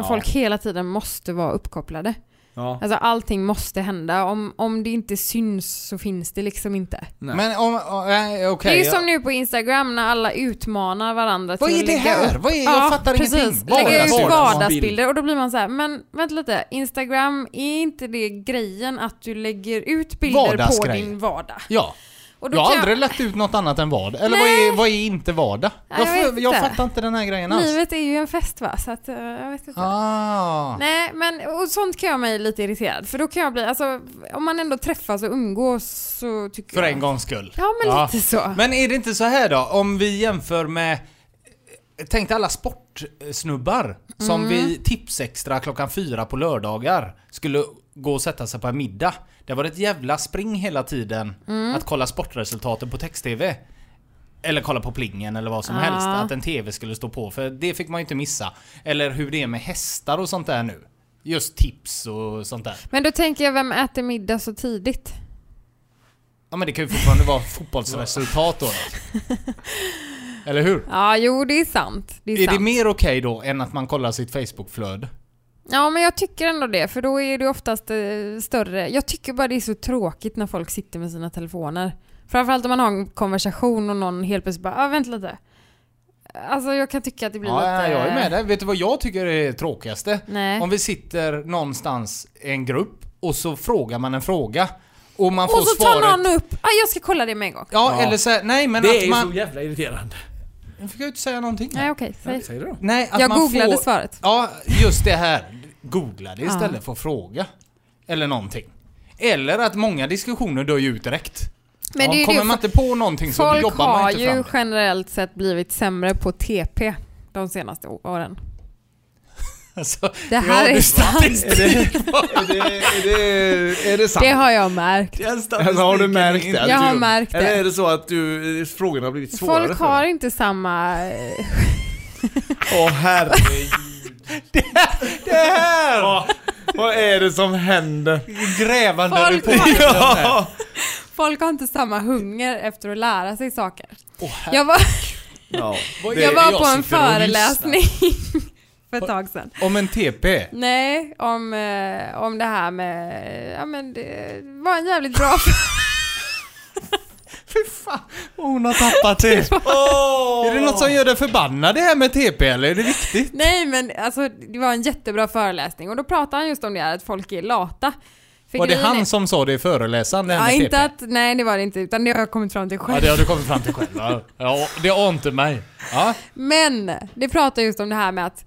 A: Mm. Ja.
C: folk hela tiden måste vara uppkopplade.
B: ja.
C: Alltså allting måste hända. Om, om det inte syns så finns det liksom inte.
B: Nej.
A: Men om... om- nej, Okej.
C: det är som nu på Instagram när alla utmanar varandra
A: Vad
C: till
A: är
C: att
A: det
C: lägga
A: här?
C: upp-
A: Vad är,
C: Ja,
A: jag fattar
C: precis.
A: ingenting.
C: Lägga ut
B: Vardagsbild.
C: vardagsbilder och då blir man så här, men vänta lite. Instagram, är inte det grejen att du lägger ut bilder på
A: Vardagsgrejer.
C: din vardag?
A: Ja.
C: Och då
A: Jag har
C: kan
A: aldrig lagt ut något annat än vad. Eller vad är, vad är inte vardag?
C: Nej,
A: Jag,
C: jag
A: får-
C: vet
A: jag
C: inte.
A: fattar inte den här grejen alls.
C: Livet är ju en fest va, så att eh, jag vet inte.
A: Ah.
C: Nej men och sånt kan jag mig lite irriterad för då kan jag bli, alltså om man ändå träffas och umgås så tycker
A: För
C: jag...
A: en gångs skull.
C: Ja men
A: Ja.
C: lite så.
A: Men är det inte så här då, om vi jämför med Tänk dig alla sportsnubbar
C: Mm.
A: som vi tipsextra klockan fyra på lördagar skulle gå och sätta sig på en middag. Det var ett jävla spring hela tiden
C: Mm.
A: att kolla sportresultaten på text-tv. Eller kolla på plingen eller vad som
C: Ja.
A: helst. Att en tv skulle stå på för det fick man ju inte missa. Eller hur det är med hästar och sånt där nu. Just tips och sånt där.
C: Men då tänker jag, vem äter middag så tidigt?
A: Ja men det kan ju fortfarande vara fotbollsresultat då. då. Eller hur?
C: Ja jo det är sant. Det är,
A: Är det
C: sant.
A: mer okej då än att man kollar sitt Facebook-flöde?
C: Ja men jag tycker ändå det för då är det oftast eh, större. Jag tycker bara det är så tråkigt när folk sitter med sina telefoner. Framförallt om man har en konversation och någon helt plötsligt bara, ah, vänta lite. Alltså jag kan tycka att det blir
A: Ja,
C: lite...
A: ja, jag är med där. Vet du vad jag tycker är det tråkigaste?
C: Nej.
A: Om vi sitter någonstans i en grupp och så frågar man en fråga och man får
C: Och så tar
A: svaret...
C: någon upp, ah, jag ska kolla det med en gång.
A: Ja,
B: Ja.
A: eller så här, nej men
B: Det är
A: att
B: ju så
A: man...
B: jävla irriterande.
A: Nu fick jag ju inte säga någonting.
C: Nej okej, säg.
B: Säger du då?
A: Nej, att
C: Jag
A: man
C: googlade
A: får...
C: svaret.
A: Ja, just det här. Googla det istället för att fråga. Eller någonting. Eller att många diskussioner dör ju ut direkt.
C: Men
A: ja,
C: det är ju
A: kommer
C: det,
A: man inte på någonting så
C: folk
A: jobbar man
C: har
A: inte fram
C: ju
A: det.
C: generellt sett blivit sämre på TP de senaste åren.
A: Alltså,
C: Det här
A: ja,
C: är sant.
E: Är det, är det, är det sant?
C: Det har jag märkt.
B: Alltså,
E: Eller har du märkt det?
C: Jag har
E: Du-
C: märkt
E: Eller är
C: det.
E: det så att du, frågorna har blivit svårare?
C: Folk
E: för dig?
C: har inte samma... eh,
E: Åh herregud. det, här! vad är det som händer?
A: Grävande
C: Folk
A: rutin.
C: har-
E: Ja.
C: Folk har inte samma hunger efter att lära sig saker. jag var,
E: ja.
A: Det
C: jag
A: är
C: var
A: jag
C: på en
A: sitter och lyssnar.
C: föreläsning för ett tag sedan.
A: Om en TP?
C: Nej, om, eh, om det här med... Ja men det var en jävligt bra
A: Fy fan, vad hon har tappat det. Är det något som gör dig förbannad det här med TP eller är det viktigt?
C: Nej men alltså det var en jättebra föreläsning och då pratade han just om det här att folk är lata. För
A: Var det
C: grejen är-
A: han som sa det i föreläsaren det här
C: Ja,
A: med TP?
C: inte att, nej det var det inte utan det har jag kommit fram till själv.
A: Ja det har du kommit fram till själv va? Ja, det ante mig. Ja.
C: Men det pratar just om det här med att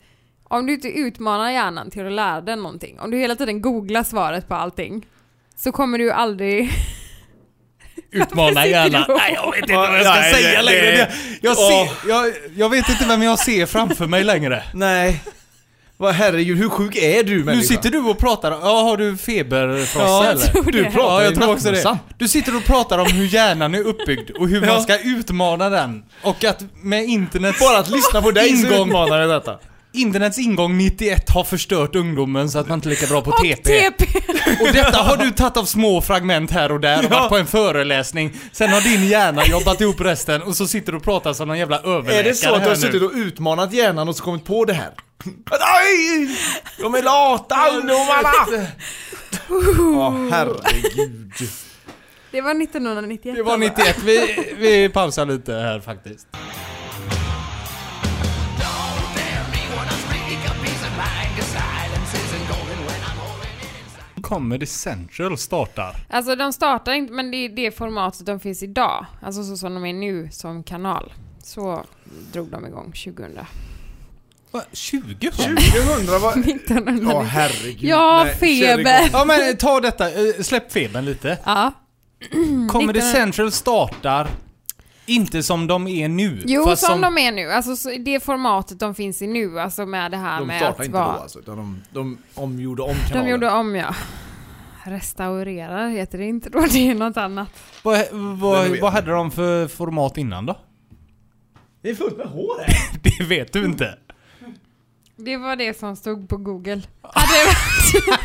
C: om du inte utmanar hjärnan till att lära den någonting, om du hela tiden googlar svaret på allting så kommer du ju aldrig...
A: Utmana gärna.
C: du och-
A: Nej jag vet inte vad jag ska
E: Nej, det-
A: säga
E: det-
A: längre. Det- Jag, ser,
E: Åh.
A: jag, jag vet inte vem jag ser framför mig längre.
E: Nej. Vad herregud, hur sjuk är du människa?
A: Nu sitter du och pratar, ja har du feberfrossa
E: Ja,
A: eller?
C: jag tror
A: du
C: det.
A: pratar
E: Ja, jag
A: i
E: tror också det.
A: nattmössan. Du sitter och pratar om hur hjärnan är uppbyggd och hur
E: Ja.
A: man ska utmana den. Och att med internets...
E: Bara att lyssna på dig så
A: Ingång.
E: utmanar det detta.
A: Internets ingång 91 har förstört ungdomen så att man inte är lika bra på TP.
C: Och TP!
A: Och detta har du tagit av små fragment här och där och varit på en föreläsning. Sen har din hjärna jobbat ihop resten och så sitter du och pratar som någon jävla överläkare
E: Är det så att du
A: här
E: har
A: nu.
E: suttit och utmanat hjärnan och så kommit på det här? Nej! De är lata ungdomarna! Ja, herregud.
C: Det var 1991.
A: Det var 91, vi, vi pausar lite här faktiskt. Comedy Central startar.
C: Alltså de startar inte, men det är det formatet de finns idag. Alltså så som de är nu som kanal. Så drog de igång 2000.
A: Va, 20?
E: 2000 var...
C: 1990.
E: Ja herregud.
C: Ja,
E: Nej,
C: feber.
E: kör igång.
A: Ja men ta detta, eh, släpp febern lite.
C: Ja.
A: Comedy
C: Nitton-
A: Central startar inte som de är nu.
C: Jo, som,
A: fast
C: de är nu. Alltså så- det formatet de finns i nu, alltså med det här
E: De
C: med
E: startade
C: att
E: inte då
C: vara...
E: alltså, utan de, de omgjorde om kanalen.
C: De gjorde om ja. Restaurerar heter det inte då, det är något annat.
A: Vad,
E: Nej,
A: vad,
E: det vet
A: vad hade de för format innan då?
E: Det är fullt med hår här.
A: Det vet du inte.
C: Det var det som stod på google. Hade det varit,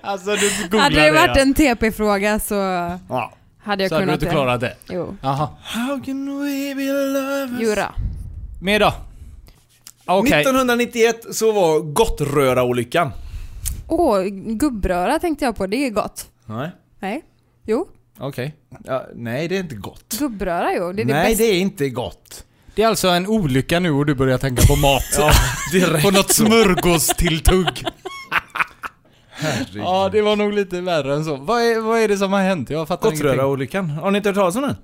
A: Alltså du googlar
C: hade det varit
A: ja.
C: en TP-fråga så
E: Ja.
C: hade jag
A: Så hade du
C: kunnat
A: inte
C: det.
A: klarat det.
C: Jo.
A: Jaha.
E: How can we be lovers?
C: Jura.
A: Mer då? Okej.
B: 1991 så var Gottröra-olyckan.
C: Åh, gubbröra tänkte jag på, det är gott.
E: Nej.
C: Nej? Jo,
E: Okej. Ja, nej, det är inte gott.
C: gubbröra jo, det är det
E: nej,
C: bästa.
E: det är inte gott.
A: Det är alltså en olycka nu och du börjar tänka på mat.
E: Direkt.
A: På något smörgåstilltugg. ja, det var nog lite värre än så. Vad är, vad är det som har hänt? Jag fattar ingenting.
B: Gottröra-olyckan. Har ni inte hört talas om den?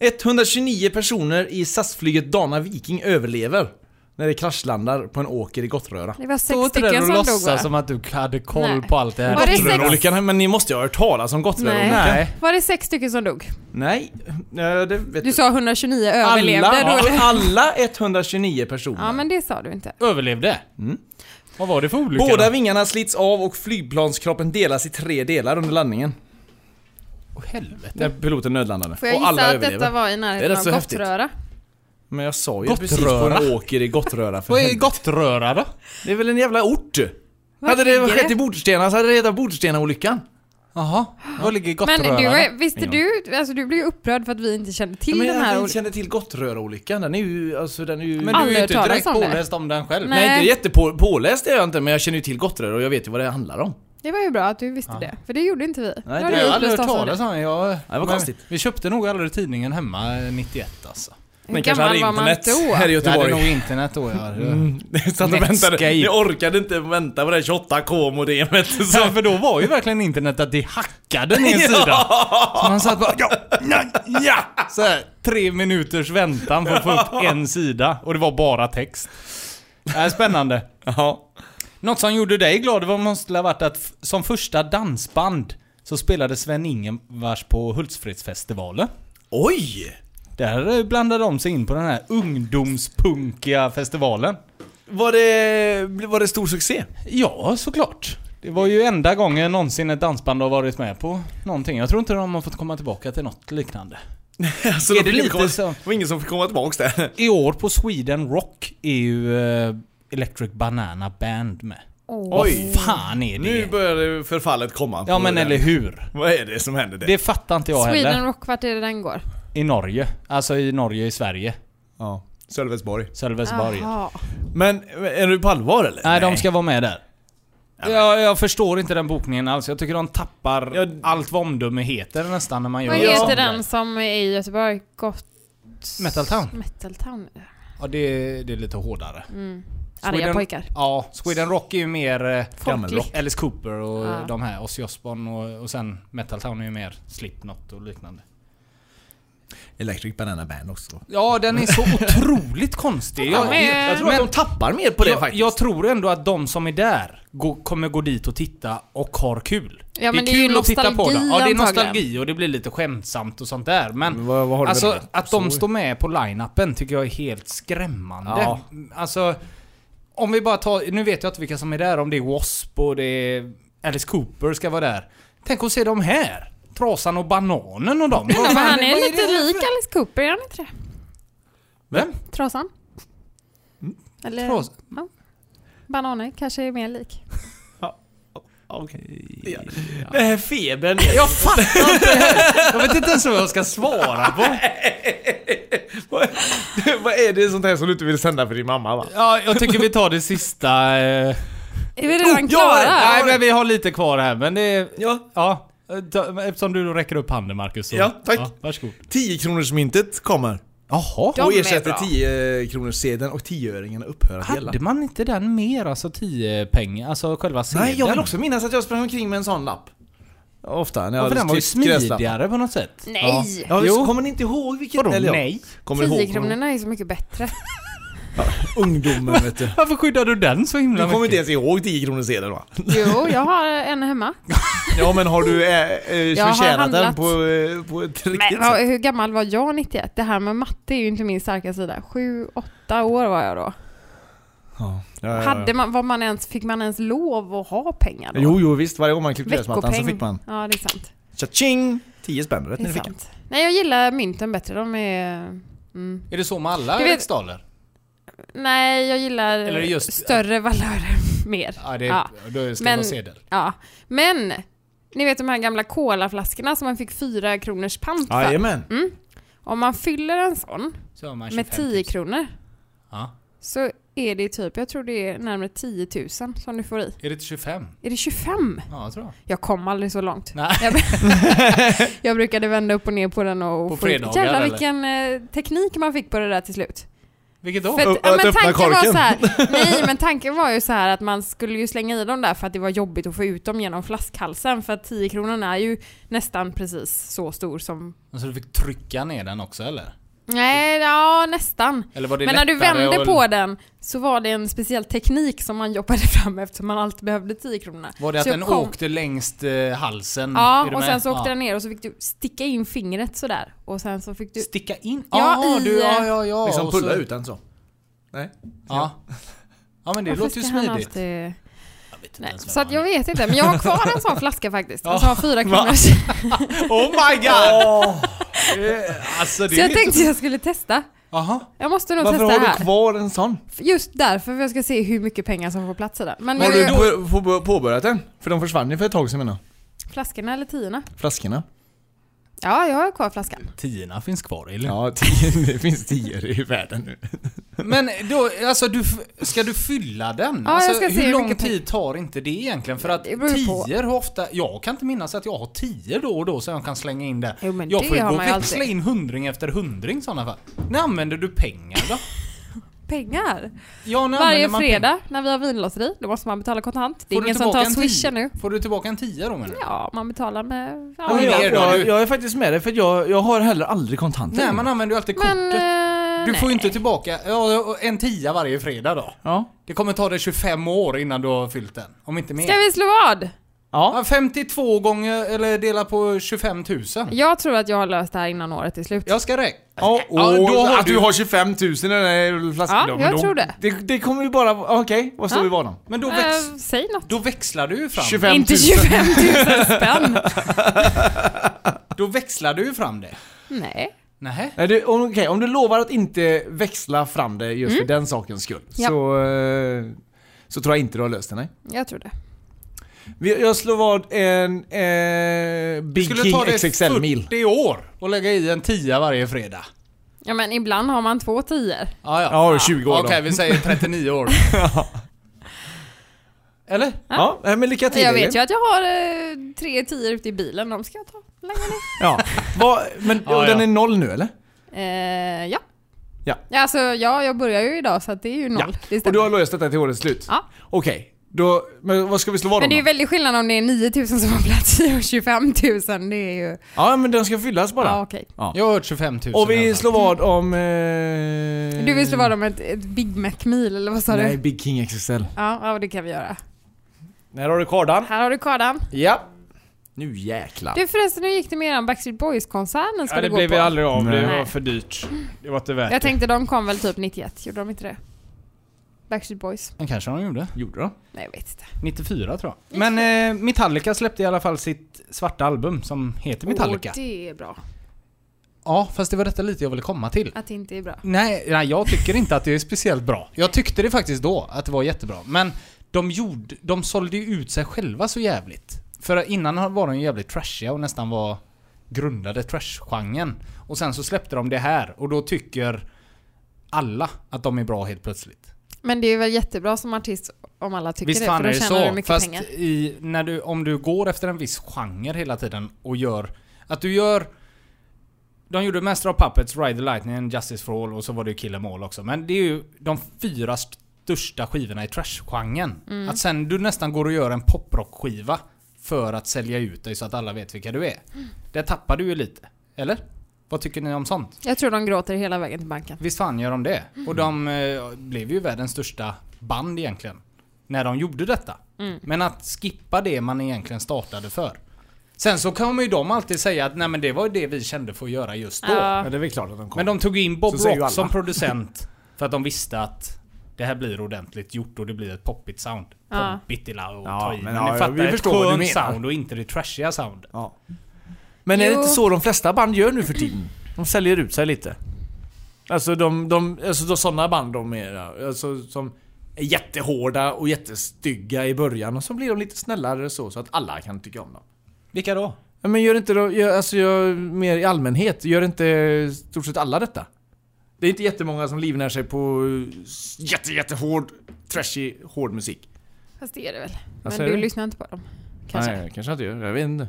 B: 129 personer i SAS-flyget Dana Viking överlever när det kraschlandar på en åker i Gottröra.
C: Det var
A: Stå
C: sex
A: inte där
C: stycken
A: och
C: som dog va?
A: låtsas som att du hade koll
C: Nej.
A: på allt det här.
C: Var det sex-
B: Gottröra-olyckan, men ni måste ju ha hört talas om Gottröra-olyckan.
C: Nej.
A: Nej.
C: Var det sex stycken som dog?
B: Nej, eh, det vet
C: Du sa 129 överlevde.
B: Alla,
C: Då är det...
B: alla 129 personer.
C: Ja men det sa du inte.
A: Överlevde? Vad var det för olycka
B: Mm. Båda
A: då?
B: vingarna slits av och flygplanskroppen delas i tre delar under landningen.
A: Åh, helvete.
B: När piloten nödlandade.
C: Får jag
B: och alla
C: gissa att
B: överlever.
C: detta var i
B: Det är
C: närheten
B: rätt
C: av
B: så häftigt.
C: Gottröra?
B: Men jag sa ju
A: Gottröra.
B: precis på en åker i Gottröra för
A: Vad är
B: helvete.
A: Gottröra då?
B: Det är väl en jävla ort?
C: Var
B: hade
C: ligger
B: det skett
C: det?
B: i Bordstena så hade det hetat Bordstena-olyckan.
A: Jaha, var ligger Gottröra?
C: Men du,
A: då?
C: är- visste
B: Ingen
C: du? Alltså du blev ju upprörd för att vi inte kände till
B: Men
C: den här
B: jag
C: olyckan.
B: känner till Gottröra-olyckan. Den är ju, alltså den är ju...
A: Men du är
C: Aldrig
A: ju
C: hört
A: inte
C: talas
A: direkt
C: om det.
A: påläst om den själv.
C: Nej.
B: Nej, inte jättepåläst är jag inte, men jag känner ju till Gottröra och jag vet ju vad det handlar om.
C: Det var ju bra att du visste det, för det gjorde inte vi. Då
B: det
C: hade
B: har
A: Jag
C: vi
A: har aldrig hört
C: upplyst oss om
A: talas om den. Jag,
B: det var
A: men
B: konstigt.
A: Vi köpte nog aldrig tidningen hemma eh, 91 alltså.
C: Hur gammal var man då?
B: här i
A: Jag hade
B: Göteborg. Mm.
A: nog internet då. Jag hade.
B: Jag satt och
A: Netscape.
B: väntade. Ni orkade inte vänta på det här 28k modemet.
A: Så, för då var ju verkligen internet att det hackade ner sidan. Så man satt bara ja, nej, ja. Så här, tre minuters väntan för att få upp en sida och det var bara text. Det här är spännande.
B: Ja.
A: Något som gjorde dig glad var måste ha varit att f- som första dansband så spelade Sven-Ingvars på Hultsfredsfestivalen.
B: Oj!
A: Där eh, blandade de sig in på den här ungdomspunkiga festivalen.
B: Var det, var det stor succé?
A: Ja, såklart. Det var ju enda gången någonsin ett dansband har varit med på någonting. Jag tror inte de har fått komma tillbaka till något liknande.
B: Alltså,
A: Är det lite så?
B: Det var ingen som fick komma tillbaks där.
A: I år på Sweden Rock är ju eh, Electric Banana Band med.
C: Åh.
B: Oj.
A: Vad fan är
B: Nu
A: det?
B: börjar det förfallet komma. på
A: Ja men
B: den.
A: eller hur?
B: Vad är det som händer där?
A: Det fattar inte jag
C: Sweden
A: heller.
C: Rock, vart är det den går?
A: I Norge. Alltså i Norge, i Sverige.
B: Ja. Sölvesborg.
A: Sölvesborg.
C: Jaha.
B: Men är du på allvar eller?
A: Nej, de ska vara med där. Jag, jag förstår inte den bokningen alls. Jag tycker de tappar
B: Ja,
A: allt vad omdöme heter nästan när man gör
C: Vad
A: en sån
C: heter
A: där.
C: den som är i Göteborg? Gott...
A: Metal Town?
C: Metal Town.
A: Ja, det, det är lite hårdare.
C: Arga
A: Sweden-
C: pojkar.
A: Ja, Sweden Rock är ju mer eh,
C: Folklig.
A: Alice Cooper och
C: Ja.
A: de här, Ozzy Osbourne och, och sen Metal Town är ju mer Slipknot och liknande.
B: Electric Banana Band också.
A: Ja, den är så otroligt konstig.
C: Ja, men-
B: Jag tror att de tappar mer på det
A: jag,
B: faktiskt.
A: jag tror ändå att de som är där gå, kommer gå dit och titta och har kul.
C: Ja, men det är ju
A: kul att titta på
C: nostalgi
A: dem. Ja, det är
C: antagligen.
A: nostalgi och det blir lite skämtsamt och sånt där. Men,
B: Men vad- vad har det med
A: alltså,
B: det?
A: att de står med på line-upen tycker jag är helt skrämmande.
B: Ja.
A: Alltså, om vi bara tar, nu vet jag inte vilka som är där, om det är W.A.S.P. och det är Alice Cooper ska vara där. Tänk att se dem här! Trasan och bananen och dem. Vad
C: Men
A: fan-
C: han
A: vad
C: är lite
A: det här
C: lik
A: för-
C: Alice Cooper, är han inte det?
A: Vem?
C: Trasan? Eller?
A: Mm. Tras-
C: Ja. Bananer kanske är mer lik.
B: Den här febern.
A: Jag fattar inte det här. Jag vet inte ens vad jag ska svara på.
E: Vad är det sånt här som du inte vill sända för din mamma va?
A: Ja, jag tycker vi tar det sista. eh.
C: Är vi redan
A: Ja,
C: klara?
A: nej, men vi har lite kvar här, men det... är-
B: Ja.
A: Ja, eh, ta- eftersom du då räcker upp handen Marcus. så-
B: Ja, tack.
A: varsågod.
E: 10 kronors myntet kommer.
A: Jaha.
C: De
E: och
C: är
E: ersätter
C: bra.
E: 10 kronors sedeln och 10-öringarna upphör att gälla.
A: Hade man inte den mer, alltså 10 pengar, alltså själva sedeln?
E: Nej, jag vill också-
B: Jag minns att jag sprang omkring med en sån lapp.
E: Ofta när
A: Ja,
E: jag
A: för den var ju
E: klippt gräslappar.
A: smidigare på något sätt.
C: Nej!
E: Ja,
A: Jo.
E: så kommer ni inte ihåg vilket...
A: Vadå
E: eller ja,
A: nej?
E: Kommer ihåg,
C: 10 kronorna är så mycket bättre.
B: Ungdomen vet du.
A: Varför skyddar du den så himla
B: Du kommer inte
A: mycket?
B: ens ihåg 10 kronor sedeln va?
C: Jo, jag har en hemma.
B: Ja men har du äh, äh,
C: Jag har
B: förtjänat den
C: handlat.
B: på, eh, på ett riktigt
C: Men vad-
B: sätt?
C: hur gammal var jag 91? Det här med matte är ju inte min starka sida. Sju, åtta år var jag då.
B: Ja, ja, ja.
C: Hade man, var man ens, fick man ens lov att ha pengar då?
B: Jo, jo visst. Varje gång man klippte gräsmattan så
C: Veckopeng.
B: fick man
C: Ja, det är sant.
B: tja-ching! 10 spänn rätt
C: Det
B: ner
C: är
B: i fickan.
C: sant. Nej, jag gillar mynten bättre. De är... Mm.
A: Är det så med alla
C: Du vet-
A: riksdaler?
C: Nej, jag gillar
A: Eller just-
C: större valörer mer.
A: Ja, det,
C: Ja.
A: då ska
C: Men-
A: vara sedel.
C: Ja. Men, ni vet de här gamla colaflaskorna som man fick fyra kronors pant för.
B: Jajamän.
C: Om man fyller en sån
A: Så har man 25
C: med 10 kronor
A: Ja.
C: så är det typ, jag tror det är närmare 10 000 som du får i.
A: Är det till 25?
C: Är det 25?
A: Ja, jag tror jag.
C: Jag kom aldrig så långt.
A: Nej.
C: Jag, jag brukade vända upp och ner på den och
A: På
C: få-
A: fredagar,
C: Jävlar
A: eller?
C: vilken eh, teknik man fick på det där till slut.
A: Vilket då?
C: För
B: Ö-
C: att, ja,
B: att
C: men
B: öppna
C: tanken var
B: korken.
C: så här, nej men tanken var ju så här att man skulle ju slänga i dem där för att det var jobbigt att få ut dem genom flaskhalsen för att 10 kronorna är ju nästan precis så stor som...
A: Så du fick trycka ner den också eller?
C: Nej, ja nästan.
A: Eller var det
C: Men när du
A: lättare
C: vände
A: att-
C: på den så var det en speciell teknik som man jobbade fram eftersom man alltid behövde 10 kronorna.
A: Var det att
C: Så
A: den
C: kom-
A: åkte längst eh, halsen? Är
C: Ja,
A: du
C: och
A: med?
C: sen så åkte
A: Ja.
C: den ner och så fick du sticka in fingret sådär. Och sen så fick du...
A: Sticka in?
C: Ja,
A: Ja,
C: i-
A: du, ja, ja, ja.
B: Liksom
A: och så-
B: pulla ut den så. Nej.
A: Ja. Ja men det
C: Varför
A: låter ju
C: ska han
A: smidigt.
C: alltid-
A: Jag vet inte
C: Nej,
A: ens vad
C: så att
A: han-
C: jag vet inte, men jag har kvar en sån flaska faktiskt. En sån fyra kronors.
A: Oh my god! alltså
C: Så
A: det är
C: jag
A: lite...
C: tänkte jag skulle testa.
A: Jaha.
C: Jag måste nog
B: Varför
C: testa
B: har du
C: här.
B: kvar en sån?
C: Just därför, för jag ska se hur mycket pengar som får plats i den. Men
B: Har
C: jag,
B: du
C: jag,
B: på- på- påbörjat den? För de försvann ju för ett tag sedan menar jag.
C: flaskorna eller tiorna?
B: Flaskorna.
C: Ja, jag har kvar flaskan.
A: Tiorna finns kvar eller?
B: Ja, tio, det finns tio i världen nu.
A: Men då, alltså du, f- ska du fylla den?
C: Ja, jag
A: alltså,
C: ska se
A: hur
C: hur
A: lång
C: mycket
A: tid tar inte det egentligen? För att
C: Det beror ju på.
A: tior har ofta, jag kan inte minnas att jag har tior då och då som jag kan slänga in där.
C: Jo, men
A: jag
C: det
A: får ju
C: har
A: gå och
C: man ju
A: växla
C: alltid.
A: in hundring efter hundring i sådana fall. När använder du pengar då?
C: Pengar!
A: Ja, när använder
C: Varje
A: man pengar?
C: fredag när vi har vinlotteri, då måste man betala kontant. Det är
A: Får du
C: ingen som
A: tillbaka
C: tar
A: en
C: swishen
A: tia?
C: nu.
A: Får du tillbaka en tia då menar du?
C: Ja, man betalar med... Ja,
A: men
B: jag,
A: det är då du-
B: jag, jag är faktiskt med dig för att jag, jag har heller aldrig kontanter.
A: Nej, man använder ju alltid
C: Mm. men...
A: kortet.
C: eh,
A: Du får ju
C: nej.
A: inte tillbaka ja, och en tia varje fredag då.
B: Ja.
A: Det kommer ta dig 25 år innan du har fyllt den. Om inte mer.
C: Ska vi slå vad?
B: Ja.
A: Ja, 52 gånger, eller dela på 25 000.
C: Jag tror att jag har löst det här innan året är slut.
A: Jag ska räkna.
B: Ja, och
A: Ja, då har
B: att du
A: du-
B: har 25 000 i den här flaskan.
C: Ja,
B: då, men
C: jag
B: då-
C: tror det.
B: det. Det kommer ju bara... Okej, vad står
C: Ja.
B: vi bakom?
A: Men då,
C: Eh,
A: väx,
C: säg något.
A: då växlar du ju fram.
B: 25 000.
C: Inte 25 000 spänn!
A: Då växlar du ju fram det.
C: Nej.
A: Nej.
B: Nej, du, om, okej, om du lovar att inte växla fram det just för den sakens skull
C: Mm. Ja.
B: så, eh, så tror jag inte du har löst det, nej.
C: Jag tror det.
B: Vi- Jag slår vad en eh,
A: Det
B: Big
A: skulle
B: King
A: ta dig
B: XXL-mil.
A: 40 år att lägga i en tia varje fredag.
C: Ja men ibland har man två tior.
A: Ja, ja.
B: Ja, 20 år
A: Okej,
B: då.
A: vi säger 39 år. Eller?
B: Ja, nej, men lycka till
C: Jag vet
B: Elin.
C: ju att jag har eh, tre tior ute i bilen, de ska jag ta. Lägga ner.
B: Ja. Vad- men
A: Ja,
B: och
A: ja.
B: den är noll nu eller?
C: Eh, ja.
B: Ja.
C: Alltså ja, jag börjar ju idag så att det är ju noll. Det
B: Och du
C: stämmer.
B: har löst detta till årets slut?
C: Ja.
B: Okej, då, men vad ska vi slå vad
C: Men
B: om
C: det är
B: då?
C: ju väldigt skillnad om det är 9000 som har plats i och 25 000. Det är ju...
B: Ja, men den ska fyllas bara.
C: Ja okej.
A: Jag har hört 25 000
B: Och
A: i alla
B: vi
A: fall.
B: slår vad om... Eh,
C: Du vill slå vad om ett, ett Big Mac-mil eller vad sa
B: Nej,
C: du?
B: Big King XXL.
C: Ja, ja, det kan vi göra.
B: Här har du kardan.
C: Här har du kardan.
B: Ja. Nu jäklar.
C: Du förresten, hur gick det med eran Backstreet Boys-konsert ni
F: Ja,
C: skulle
F: det
C: gå
F: blev
C: på?
F: vi aldrig av. Det
C: Nej.
F: var för dyrt. Det var inte värt
C: Jag tänkte de kom väl typ 91, gjorde de inte det? Backstreet Boys?
A: Men kanske de gjorde.
B: Gjorde de?
C: Nej jag vet inte.
A: 94 tror jag. Men eh, Metallica släppte i alla fall sitt svarta album som heter Metallica.
C: Åh, det är bra.
A: Ja, fast det var detta lite jag ville komma till.
C: Att det inte är bra.
A: Nej, nej, jag tycker inte att det är speciellt bra. Jag tyckte det faktiskt då, att det var jättebra. Men de, gjorde, de sålde ju ut sig själva så jävligt. För innan var de ju jävligt trashiga och nästan var grundade trashgenren. Och sen så släppte de det här och då tycker alla att de är bra helt plötsligt.
C: Men det är väl jättebra som artist om alla tycker
A: Visst
C: det, för
A: fan
C: då
A: är det
C: tjänar du
A: så.
C: mycket
A: Fast
C: pengar.
A: i, när du, om du går efter en viss genre hela tiden och gör... Att du gör... De gjorde Master of Puppets, Ride the Lightning, Justice for All och så var det ju Kill Em All också. Men det är ju de fyra största skivorna i trash-genren.
C: Mm.
A: Att sen du nästan går och gör en poprock-skiva
C: Mm.
A: för att sälja ut dig så att alla vet vilka du är. Där tappar du ju lite. Eller? Vad tycker ni om sånt?
C: Jag tror de gråter hela vägen till banken.
A: Visst fan gör de det?
C: Mm.
A: Och de eh, blev ju världens största band egentligen. När de gjorde detta.
C: Mm.
A: Men att skippa det man egentligen startade för. Sen så kommer ju de alltid säga att nej men det var ju det vi kände för att göra just då.
C: Ja.
E: Men det är väl klart att de kom.
A: Men de tog in Bob
E: Så säger ju
A: Rock
E: alla.
A: som producent för att de visste att det här blir ordentligt gjort och det blir ett poppigt sound.
C: Ja.
A: Poppigt illa att
E: Ja,
A: ta i.
E: men
A: Men,
E: ja,
A: ni
E: jag-
A: fattar,
E: vi
A: ett
E: förstår vad du
A: skönt
E: menar.
A: sound och inte det trashiga soundet.
E: Ja.
B: Men är det
C: Jo.
B: inte så de flesta band gör nu för tiden? De säljer ut sig lite. Alltså de, de alltså de, sådana band de är, alltså som är jättehårda och jättestygga i början och så blir de lite snällare så, så att alla kan tycka om dem.
A: Vilka då?
B: Ja, Men gör inte då, gör, alltså gör mer i allmänhet, gör inte i stort sett alla detta? Det är inte jättemånga som livnär sig på eh, s- jätte, jättehård, trashy, hård musik.
C: Fast det är det väl. Men
B: Vad säger
C: du
B: du?
C: lyssnar inte på dem. Kanske.
B: Nej, kanske inte gör. Jag vet inte.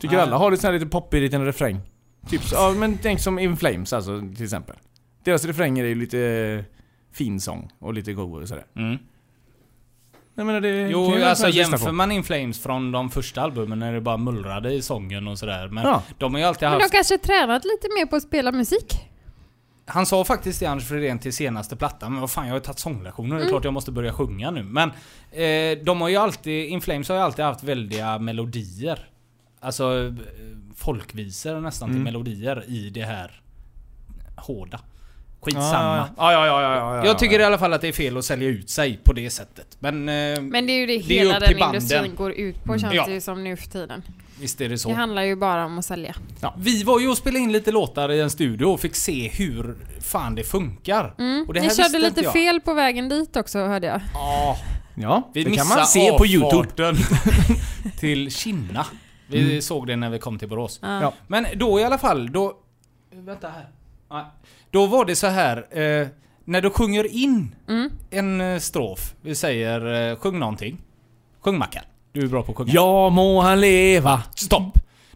B: Tycker
A: Nej.
B: alla har lite sån här lite poppig liten refräng. Typ så, ja, men tänk som In Flames alltså till exempel. Deras refränger är ju lite eh, fin sång och lite go och sådär.
A: Mm.
B: Jag menar det det kan
A: Jo,
B: ju
A: alltså
B: alla lyssna
A: jämför
B: på.
A: man In Flames från de första albumen när det bara mullrade i sången och sådär. Men
B: Ja.
A: de har ju alltid
C: Men de
A: haft...
C: kanske tränat lite mer på att spela musik.
A: Han sa faktiskt det Anders Fredén till senaste plattan, men vad fan jag har ju tagit sånglektioner,
C: Mm.
A: det är klart jag måste börja sjunga nu. Men eh, de har ju alltid, In Flames har ju alltid haft väldiga melodier. Alltså eh, folkvisor nästan
B: Mm.
A: till melodier i det här hårda. Skitsamma.
B: Ja, ja, ja, ja, ja, ja,
A: Jag tycker i alla fall att det är fel att sälja ut sig på det sättet. Men, eh,
C: Men det är ju det,
A: Det är
C: hela
A: upp till
C: den
A: banden. Mm.
C: industrin går ut på känns
A: Ja.
C: det ju som nu för tiden.
A: visst är det så.
C: Det handlar ju bara om att sälja.
A: Ja. Vi var ju och spelade in lite låtar i en studio och fick se hur fan det funkar.
C: Mm.
A: Och det
C: Ni
A: här
C: körde
A: visste
C: lite
A: inte jag.
C: fel på vägen dit också hörde jag.
A: Ja,
B: Ja,
A: vi
B: det kan
A: missade
B: man se på Youtube. Mm.
A: avfarten till Kina. Vi såg det när vi kom till Borås.
C: Ja.
A: Men då i alla fall, då... Vänta här. Nej. Då var det så här. Eh, när du sjunger in
C: Mm.
A: en eh, strof, vi säger eh, sjung någonting. Sjung Mackan. Du är bra på att sjunga.
B: Ja, må han leva.
A: Stopp!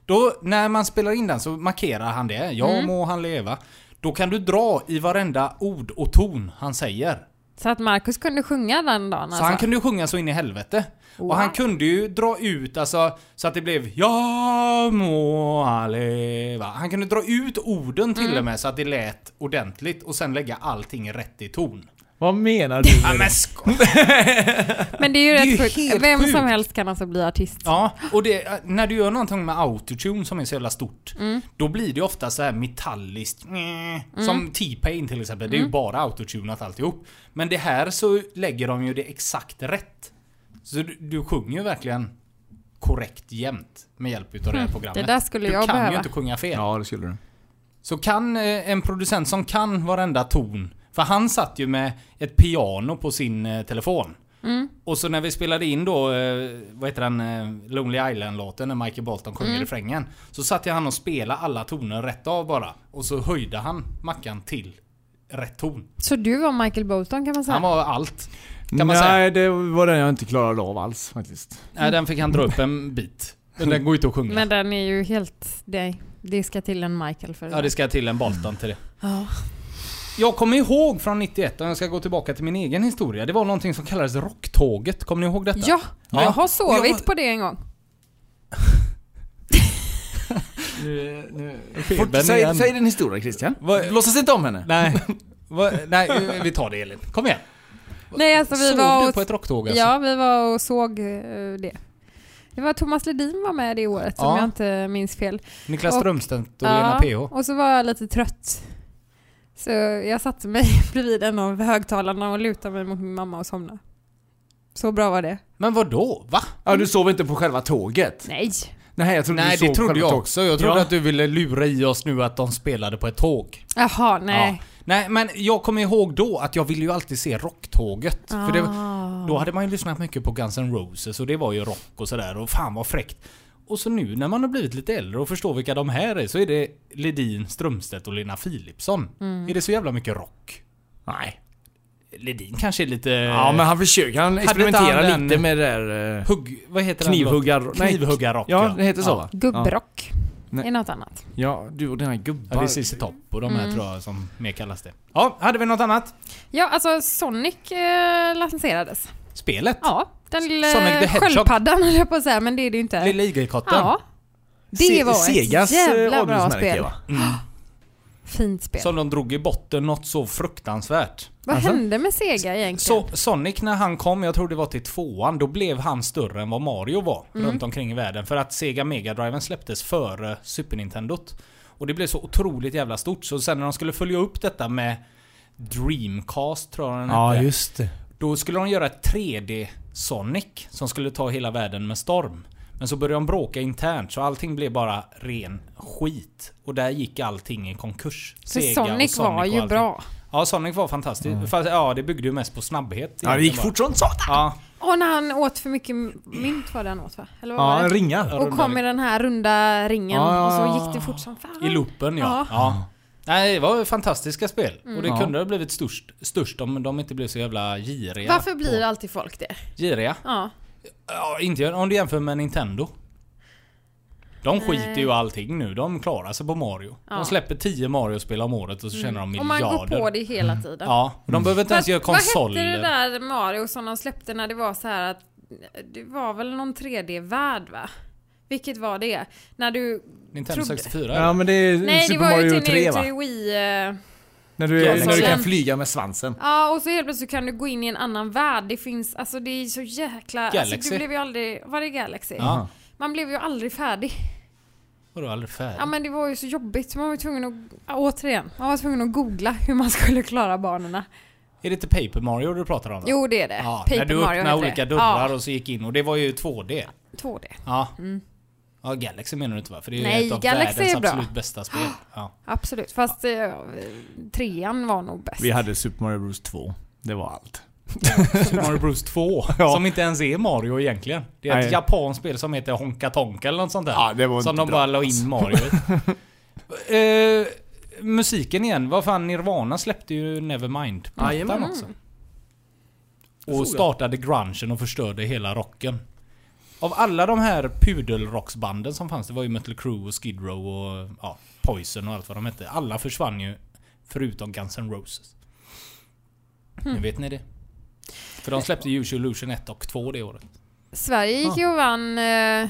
A: Då, när man spelar in den så markerar han det. Ja
C: Mm.
A: må han leva. Då kan du dra i varenda ord och ton han säger.
C: Så att Marcus kunde sjunga den dagen
A: Så han
C: alltså.
A: kunde ju sjunga så in i helvete.
C: Wow.
A: Och han kunde ju dra ut alltså, så att det blev Ja må han leva. Han kunde dra ut orden till
C: Mm.
A: och med så att det lät ordentligt och sen lägga allting rätt i ton.
B: Vad menar du?
A: Ja men sko-
C: Men det är ju
A: är ju
C: rätt sjukt.
A: helt
C: Vem som
A: sjukt.
C: helst kan alltså bli artist.
A: Ja, och det, när du gör någonting med autotune som är så jävla stort,
C: Mm.
A: då blir det ofta så här metalliskt. "Nä",
C: Mm.
A: Som T-Pain till exempel, det är ju bara autotunat alltihop. Men det här så lägger de ju det exakt rätt. Så du, du sjunger ju verkligen korrekt jämt med hjälp utav det här programmet.
C: Mm. Det där skulle
A: du
C: jag
A: kan
C: behöva.
A: ju inte sjunga fel.
B: Ja, det skulle du.
A: Så kan eh, en producent som kan varenda ton. För han satt ju med ett piano på sin eh, telefon. Och så när vi spelade in då, eh, vad heter den, eh, Lonely Island-låten när Michael Bolton sjunger refrängen. Så satt ju han och spelade alla toner rätt av bara. Och så höjde han Mackan till rätt ton.
C: Så du var Michael Bolton kan man säga.
A: Han var allt. Kan man
B: Nej,
A: säga.
B: det var den jag inte klarade av alls faktiskt.
A: Nej, den fick han dra upp en bit. Men den går ju inte att sjunga.
C: Men den är ju helt... Det, det ska till en Michael för
A: Ja, det ska till en Bolton till det.
C: Ja.
A: Jag kommer ihåg från 91, om jag ska gå tillbaka till min egen historia. Det var någonting som kallades Rocktåget. Kommer ni ihåg detta?
C: Ja,
A: Ja.
C: jag har sovit
A: Jag-
C: på det en gång.
A: Fort-
B: Säg, säg din historia Christian.
A: Vad-
B: Låtsas inte om henne.
A: Nej. Va, nej, vi tar det Elin. Kom igen.
C: Nej, alltså vi
A: Sov
C: var
A: du
C: och,
A: på ett rocktåg alltså?
C: Ja, vi var och såg eh, det. Det var Thomas Ledin var med det året
A: Ja.
C: om jag inte minns fel.
A: Niklas
C: Och-
A: Strömstedt och
C: Ja,
A: Lena PH.
C: Och så var jag lite trött. Så jag satte mig bredvid en av högtalarna och lutade mig mot min mamma och somnade. Så bra var det.
A: Men vad då? Va?
B: Ja, du sov inte på själva tåget?
C: Nej!
B: Nej, jag trodde
A: Nej,
B: du sov
A: det trodde
B: själva
A: jag
B: tåget.
A: också. Jag trodde
B: Ja.
A: att du ville lura i oss nu att de spelade på ett tåg.
C: Jaha, nej.
A: Ja. Nej, men jag kommer ihåg då att jag ville ju alltid se Rocktåget. För det,
C: Ah.
A: Då hade man ju lyssnat mycket på Guns N' Roses och det var ju rock och sådär och fan vad fräckt. Och så nu när man har blivit lite äldre och förstår vilka de här är så är det Ledin, Strömstedt och Lena Philipsson.
C: Mm.
A: Är det så jävla mycket rock?
B: Nej.
A: Ledin kanske är lite...
B: Ja, men han försöker. Han experimenterar
A: inte han
B: lite
A: den-
B: med det där... eh,
A: Hugg... Vad heter
B: Knivhuggar-
A: den?
B: nej,
A: Knivhuggarrock.
B: Ja, det heter så va?
C: Gubbrock.
B: Nej.
C: Är något annat.
B: Ja, du och dina gubbar.
A: Ja, det är CC Topp och de här
C: Mm.
A: tror jag som mer kallas det. Ja, hade vi något annat?
C: Ja, alltså Sonic eh, lanserades.
A: Spelet?
C: Ja, den
A: Sonic the
C: lilla
A: Hedgehog.
C: sköldpaddan höll jag på att säga, men det är det ju inte.
A: Lilla Igelkotten?
C: Ja. Det
B: Se-
C: var ett
B: Segas, eh,
C: jävla bra
B: adelsmärke,
C: spel.
B: va?
C: Fint spel.
A: Som de drog i botten något så fruktansvärt.
C: Vad
B: Alltså?
C: hände med Sega egentligen?
A: Så Sonic när han kom, jag tror det var till tvåan, då blev han större än vad Mario var
C: Mm.
A: runt omkring i världen. För att Sega Mega Driven släpptes före Super Nintendot. Och det blev så otroligt jävla stort. Så sen när de skulle följa upp detta med Dreamcast tror jag den
B: Ja,
A: hette.
B: just det.
A: Då skulle de göra ett 3D Sonic som skulle ta hela världen med storm. Men så började de bråka internt så allting blev bara ren skit. Och där gick allting i konkurs.
C: För
A: Sega och
C: Sonic, var
A: och
C: ju
A: allting.
C: bra.
A: Ja, Sonic var fantastiskt. Fast, ja, det byggde ju mest på snabbhet.
B: Ja, det gick
A: egentligen
B: fort som satan.
A: bara. Ja,
C: Och när han åt för mycket m- mynt var det han åt va? Eller vad
B: Ja,
C: var
B: en
C: det?
B: ringa.
A: en
C: Och
A: runda
C: kom
A: ring.
C: i den här runda ringen
B: Ja, ja,
C: och
B: ja.
C: så gick det fort som fan.
A: I loopen ja.
C: Ja. Mm.
A: ja. Nej, det var fantastiska spel. Och det
B: Ja.
A: kunde ha blivit störst, störst om de inte blev så jävla giriga.
C: Varför blir alltid folk det?
A: Giriga?
C: Ja.
A: Ja, inte om du jämför med Nintendo. De skiter ju i allting nu. De klarar sig på Mario.
C: Ja.
A: De släpper 10 Mario-spel om året och så tjänar de
C: Och
A: miljarder.
C: man går på det hela
B: Mm.
C: tiden.
A: Ja, och de behöver inte ens göra
C: Vad hette det
A: konsoler.
C: där Mario som de släppte när det var så här att det var väl någon 3D-värld va? Vilket var det? När du...
A: Nintendo
C: Trodde-
A: 64?
B: Ja men det är
C: Nej
B: Super
C: det var ju
B: Mario
C: till
B: 3
C: nu
B: va?
C: till Wii... eh,
B: När du,
A: Ja,
B: när du kan
C: den-
B: flyga med svansen.
C: Ja och så helt plötsligt kan du gå in i en annan värld. Det finns, alltså det är så jäkla... Alltså,
A: Galaxy.
C: du blev ju aldrig... Var det Galaxy?
A: Ja.
C: Man blev ju aldrig färdig.
A: Var du aldrig färdig?
C: Ja men det var ju så jobbigt. Man var ju tvungen att... ja, Återigen, man var tvungen att googla hur man skulle klara banorna.
A: Är det inte Paper Mario du pratar om? då?
C: Jo det är det.
A: Ja,
C: Paper
A: när du
C: Mario
A: öppnade
C: heter det.
A: olika dörrar
C: Ja,
A: och så gick in och det var ju 2D.
C: 2D.
A: Ja. Ja, Galaxy menar du inte va? För det är ju
C: Nej,
A: ett av
C: Galaxy
A: världens
C: är bra.
A: absolut bästa spel. Ja.
C: Absolut. Fast eh, trean var nog bäst.
B: Vi hade Super Mario Bros 2. Det var allt.
A: Super Mario Bros 2, som inte ens är Mario egentligen. Det är ett
B: Nej.
A: japanskt spel som heter Honka Tonka eller något sånt där.
B: Ja, det var
A: som
B: inte
A: de
B: bra,
A: bara la in Mario i. Eh, musiken igen. Vad fan, Nirvana släppte ju Nevermind. Plattan också. Och startade grungen och förstörde hela rocken. Av alla de här pudelrocksbanden som fanns, det var ju Metal Crew och Skid Row och ja, Poison och allt vad de hette. Alla försvann ju förutom Guns N' Roses. Nu vet ni det. För de släppte ju Use Your Illusion 1 och 2 det året.
C: Sverige gick ju och vann eh,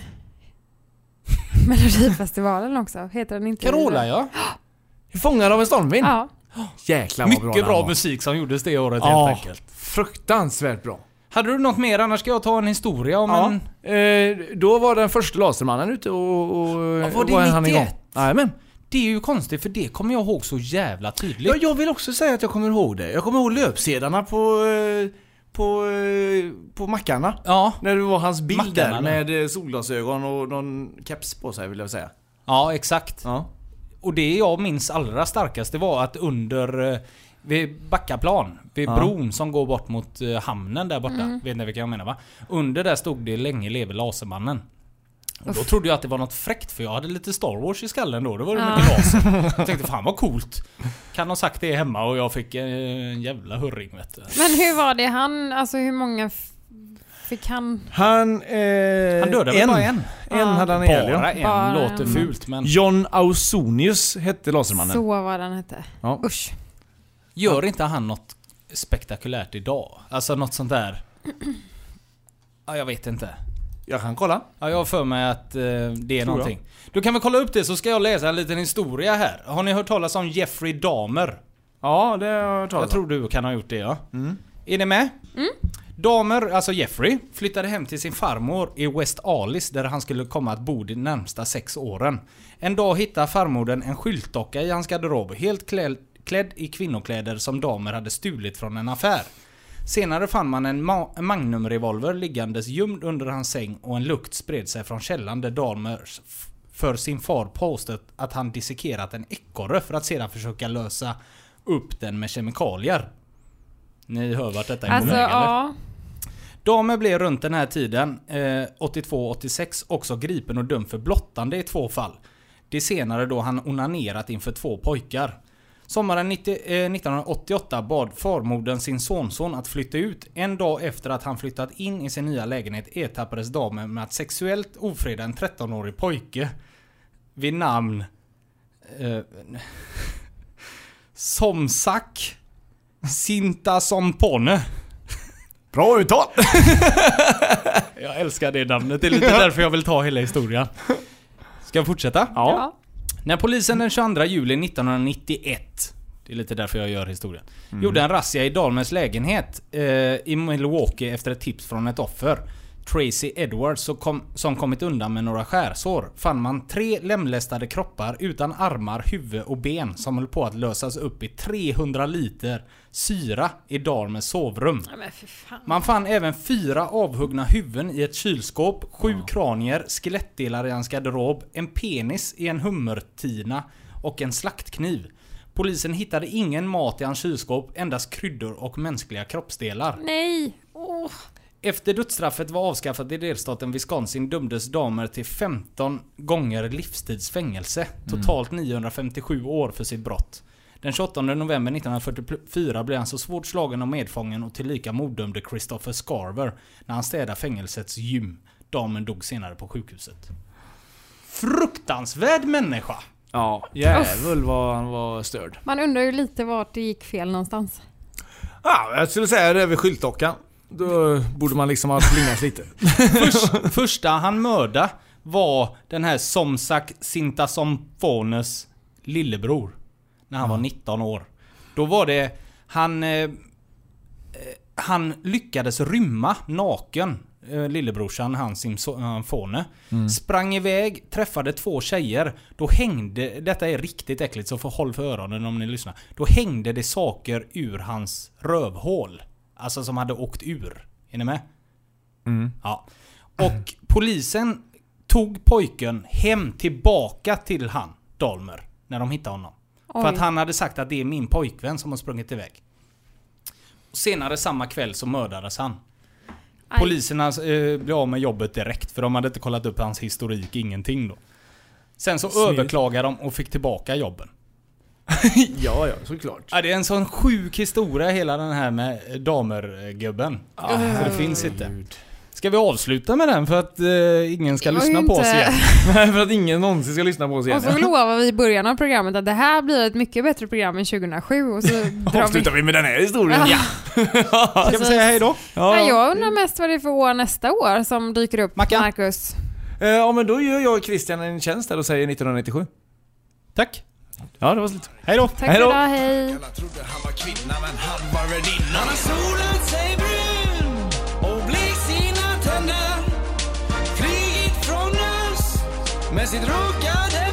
C: Melodifestivalen också. Heter den inte
A: Carola ja.
B: Fångad av en stormvind.
C: Ja.
B: Jäklar vad bra
A: Mycket
B: den
A: bra
B: var.
A: musik som gjordes det året
B: Ja.
A: helt enkelt.
B: Fruktansvärt bra.
A: Hade du något mer? Annars ska jag ta en historia om en...
B: Ja. Eh, då var den första lasermannen ute och, och
A: var det
B: han
A: 91?
B: igång. Jajamän.
A: Det är ju konstigt för det kommer jag ihåg så jävla tydligt.
B: Ja, jag vill också säga att jag kommer ihåg det. Jag kommer ihåg löpsedlarna på, eh, på, eh, på mackarna.
A: Ja,
B: När det var hans bild
A: Mackarna,
B: där med eh, solglasögon och någon keps på sig vill jag säga.
A: ja exakt.
B: Ja.
A: Och det jag minns allra starkast det var att under eh, vid Backaplan, vid
B: Ja.
A: bron som går bort mot eh, hamnen där borta. Vet ni vilka jag menar va? Under där stod det länge leve Lasermannen. Och då trodde jag att det var något fräckt för jag hade lite Star Wars i skallen då. Då var det
C: Ja.
A: mycket laser. Jag tänkte fan vad coolt. Kan ha sagt det hemma och jag fick eh, en jävla hurring vet du.
C: Men hur var det han, alltså hur många f- fick han?
B: Han... Eh,
A: Han dödade väl bara en?
B: En hade han ihjäl ja.
A: Bara en
C: Bara
A: låter
C: en.
A: fult men...
B: John Ausonius hette lasermannen.
C: Så vad han hette.
B: Ja.
C: Usch.
A: Gör inte han något spektakulärt idag? Alltså något sånt där... Ja, jag vet inte.
B: Jag kan kolla.
A: Ja, jag har för mig att eh, det är någonting. Då kan vi kolla upp det så ska jag läsa en liten historia här. Har ni hört talas om Jeffrey Dahmer?
B: Ja, det har jag
A: Jag
B: talat om.
A: tror du kan ha gjort det ja. Är ni med? Damer, alltså Jeffrey, flyttade hem till sin farmor i West Alice där han skulle komma att bo de närmsta sex åren. En dag hittar farmodern en skyltdocka i hans garderob helt klädd, klädd i kvinnokläder som damer hade stulit från en affär. Senare fann man en ma- Magnumrevolver liggandes gömd under hans säng och en lukt spred sig från källan där Dahmer f- för sin far påstått att han dissekerat en ekorre för att sedan försöka lösa upp den med kemikalier. Ni hör vart detta är på
C: Alltså
A: väg, eller?
C: ja.
A: Dahmer blev runt den här tiden, eh, 82-86, också gripen och dömd för blottande i två fall. Det senare då han onanerat inför två pojkar. Sommaren 90, eh, 1988 bad farmodern sin sonson att flytta ut. En dag efter att han flyttat in i sin nya lägenhet ertappades Dahmer med att sexuellt ofreda en 13-årig pojke vid namn... Eh, Somsak Sinta Sompone.
B: Bra uttal!
A: Jag älskar det namnet, det är lite därför jag vill ta hela historien. Ska jag fortsätta?
C: ja.
A: När polisen den 22 juli 1991 det är lite därför jag gör historien. Gjorde en razzia i Dahlmans lägenhet eh, i Milwaukee efter ett tips från ett offer. Tracy Edwards som, kom, som kommit undan med några skärsår fann man tre lemlästade kroppar utan armar, huvud och ben som höll på att lösas upp i 300 liter syra i Dahlmans sovrum.
C: Ja, men för fan.
A: Man fann även fyra avhuggna huvuden i ett kylskåp, sju kranier, skelettdelar i hans garderob, en penis i en hummertina och en slaktkniv. Polisen hittade ingen mat i hans kylskåp, endast kryddor och mänskliga kroppsdelar.
C: Nej! Åh.
A: Efter dödsstraffet var avskaffat i delstaten Wisconsin dömdes damer till 15 gånger livstidsfängelse. Totalt 957 år för sitt brott. Den 28 november 1944 blev han så svårt slagen av medfången och tillika morddömde Christopher Scarver när han städade fängelsets gym. Damen dog senare på sjukhuset. Fruktansvärd människa!
B: Ja, jävel vad han var störd.
C: Man undrar ju lite vart det gick fel någonstans.
E: Ja, jag skulle säga det är vid skyltdockan.
B: Då borde man liksom ha slingrats lite.
A: Först, första han mördade var den här Somsak Sintasomfones lillebror. När han var 19 år. Då var det... Han... Eh, eh, han lyckades rymma naken. Eh, lillebrorsan, han Simfone. Sprang iväg, träffade två tjejer. Då hängde... Detta är riktigt äckligt så får håll för öronen om ni lyssnar. Då hängde det saker ur hans rövhål. Alltså som hade åkt ur. Är ni med? Ja. Och polisen tog pojken hem tillbaka till han, Dalmer, när de hittade honom.
C: Oj.
A: För att han hade sagt att det är min pojkvän som har sprungit iväg. Senare samma kväll så mördades han.
C: Aj.
A: Poliserna eh, blev av med jobbet direkt för de hade inte kollat upp hans historik, ingenting då. Sen så överklagade de och fick tillbaka jobben.
B: ja, ja, såklart.
A: Ja, det är en sån sjuk historia hela den här med eh, damergubben.
C: Ah,
A: Så det finns inte. Ska vi avsluta med den för att eh, ingen ska
C: Det var
A: lyssna
C: ju
A: på oss
C: inte-
A: igen?
B: Nej, för att ingen någonsin ska lyssna på oss igen.
C: Och så lovar vi i början av programmet att det här blir ett mycket bättre program än 2007 och så drar vi...
B: vi med den här historien.
C: Ja.
A: Ska vi säga hej då?
C: Nej, jag undrar mest vad det är för år nästa år som dyker upp.
A: Mackan?
C: Marcus.
B: Eh, Ja, men då gör jag Christian en tjänst där och säger 1997.
A: Tack.
B: Ja, det var slut.
A: Hej då.
C: Tack för idag, hej.
D: Alla trodde han var kvinna men han var värdinna Han har solat sig brun och blekt sina tänder Flygit från öst med sitt rakade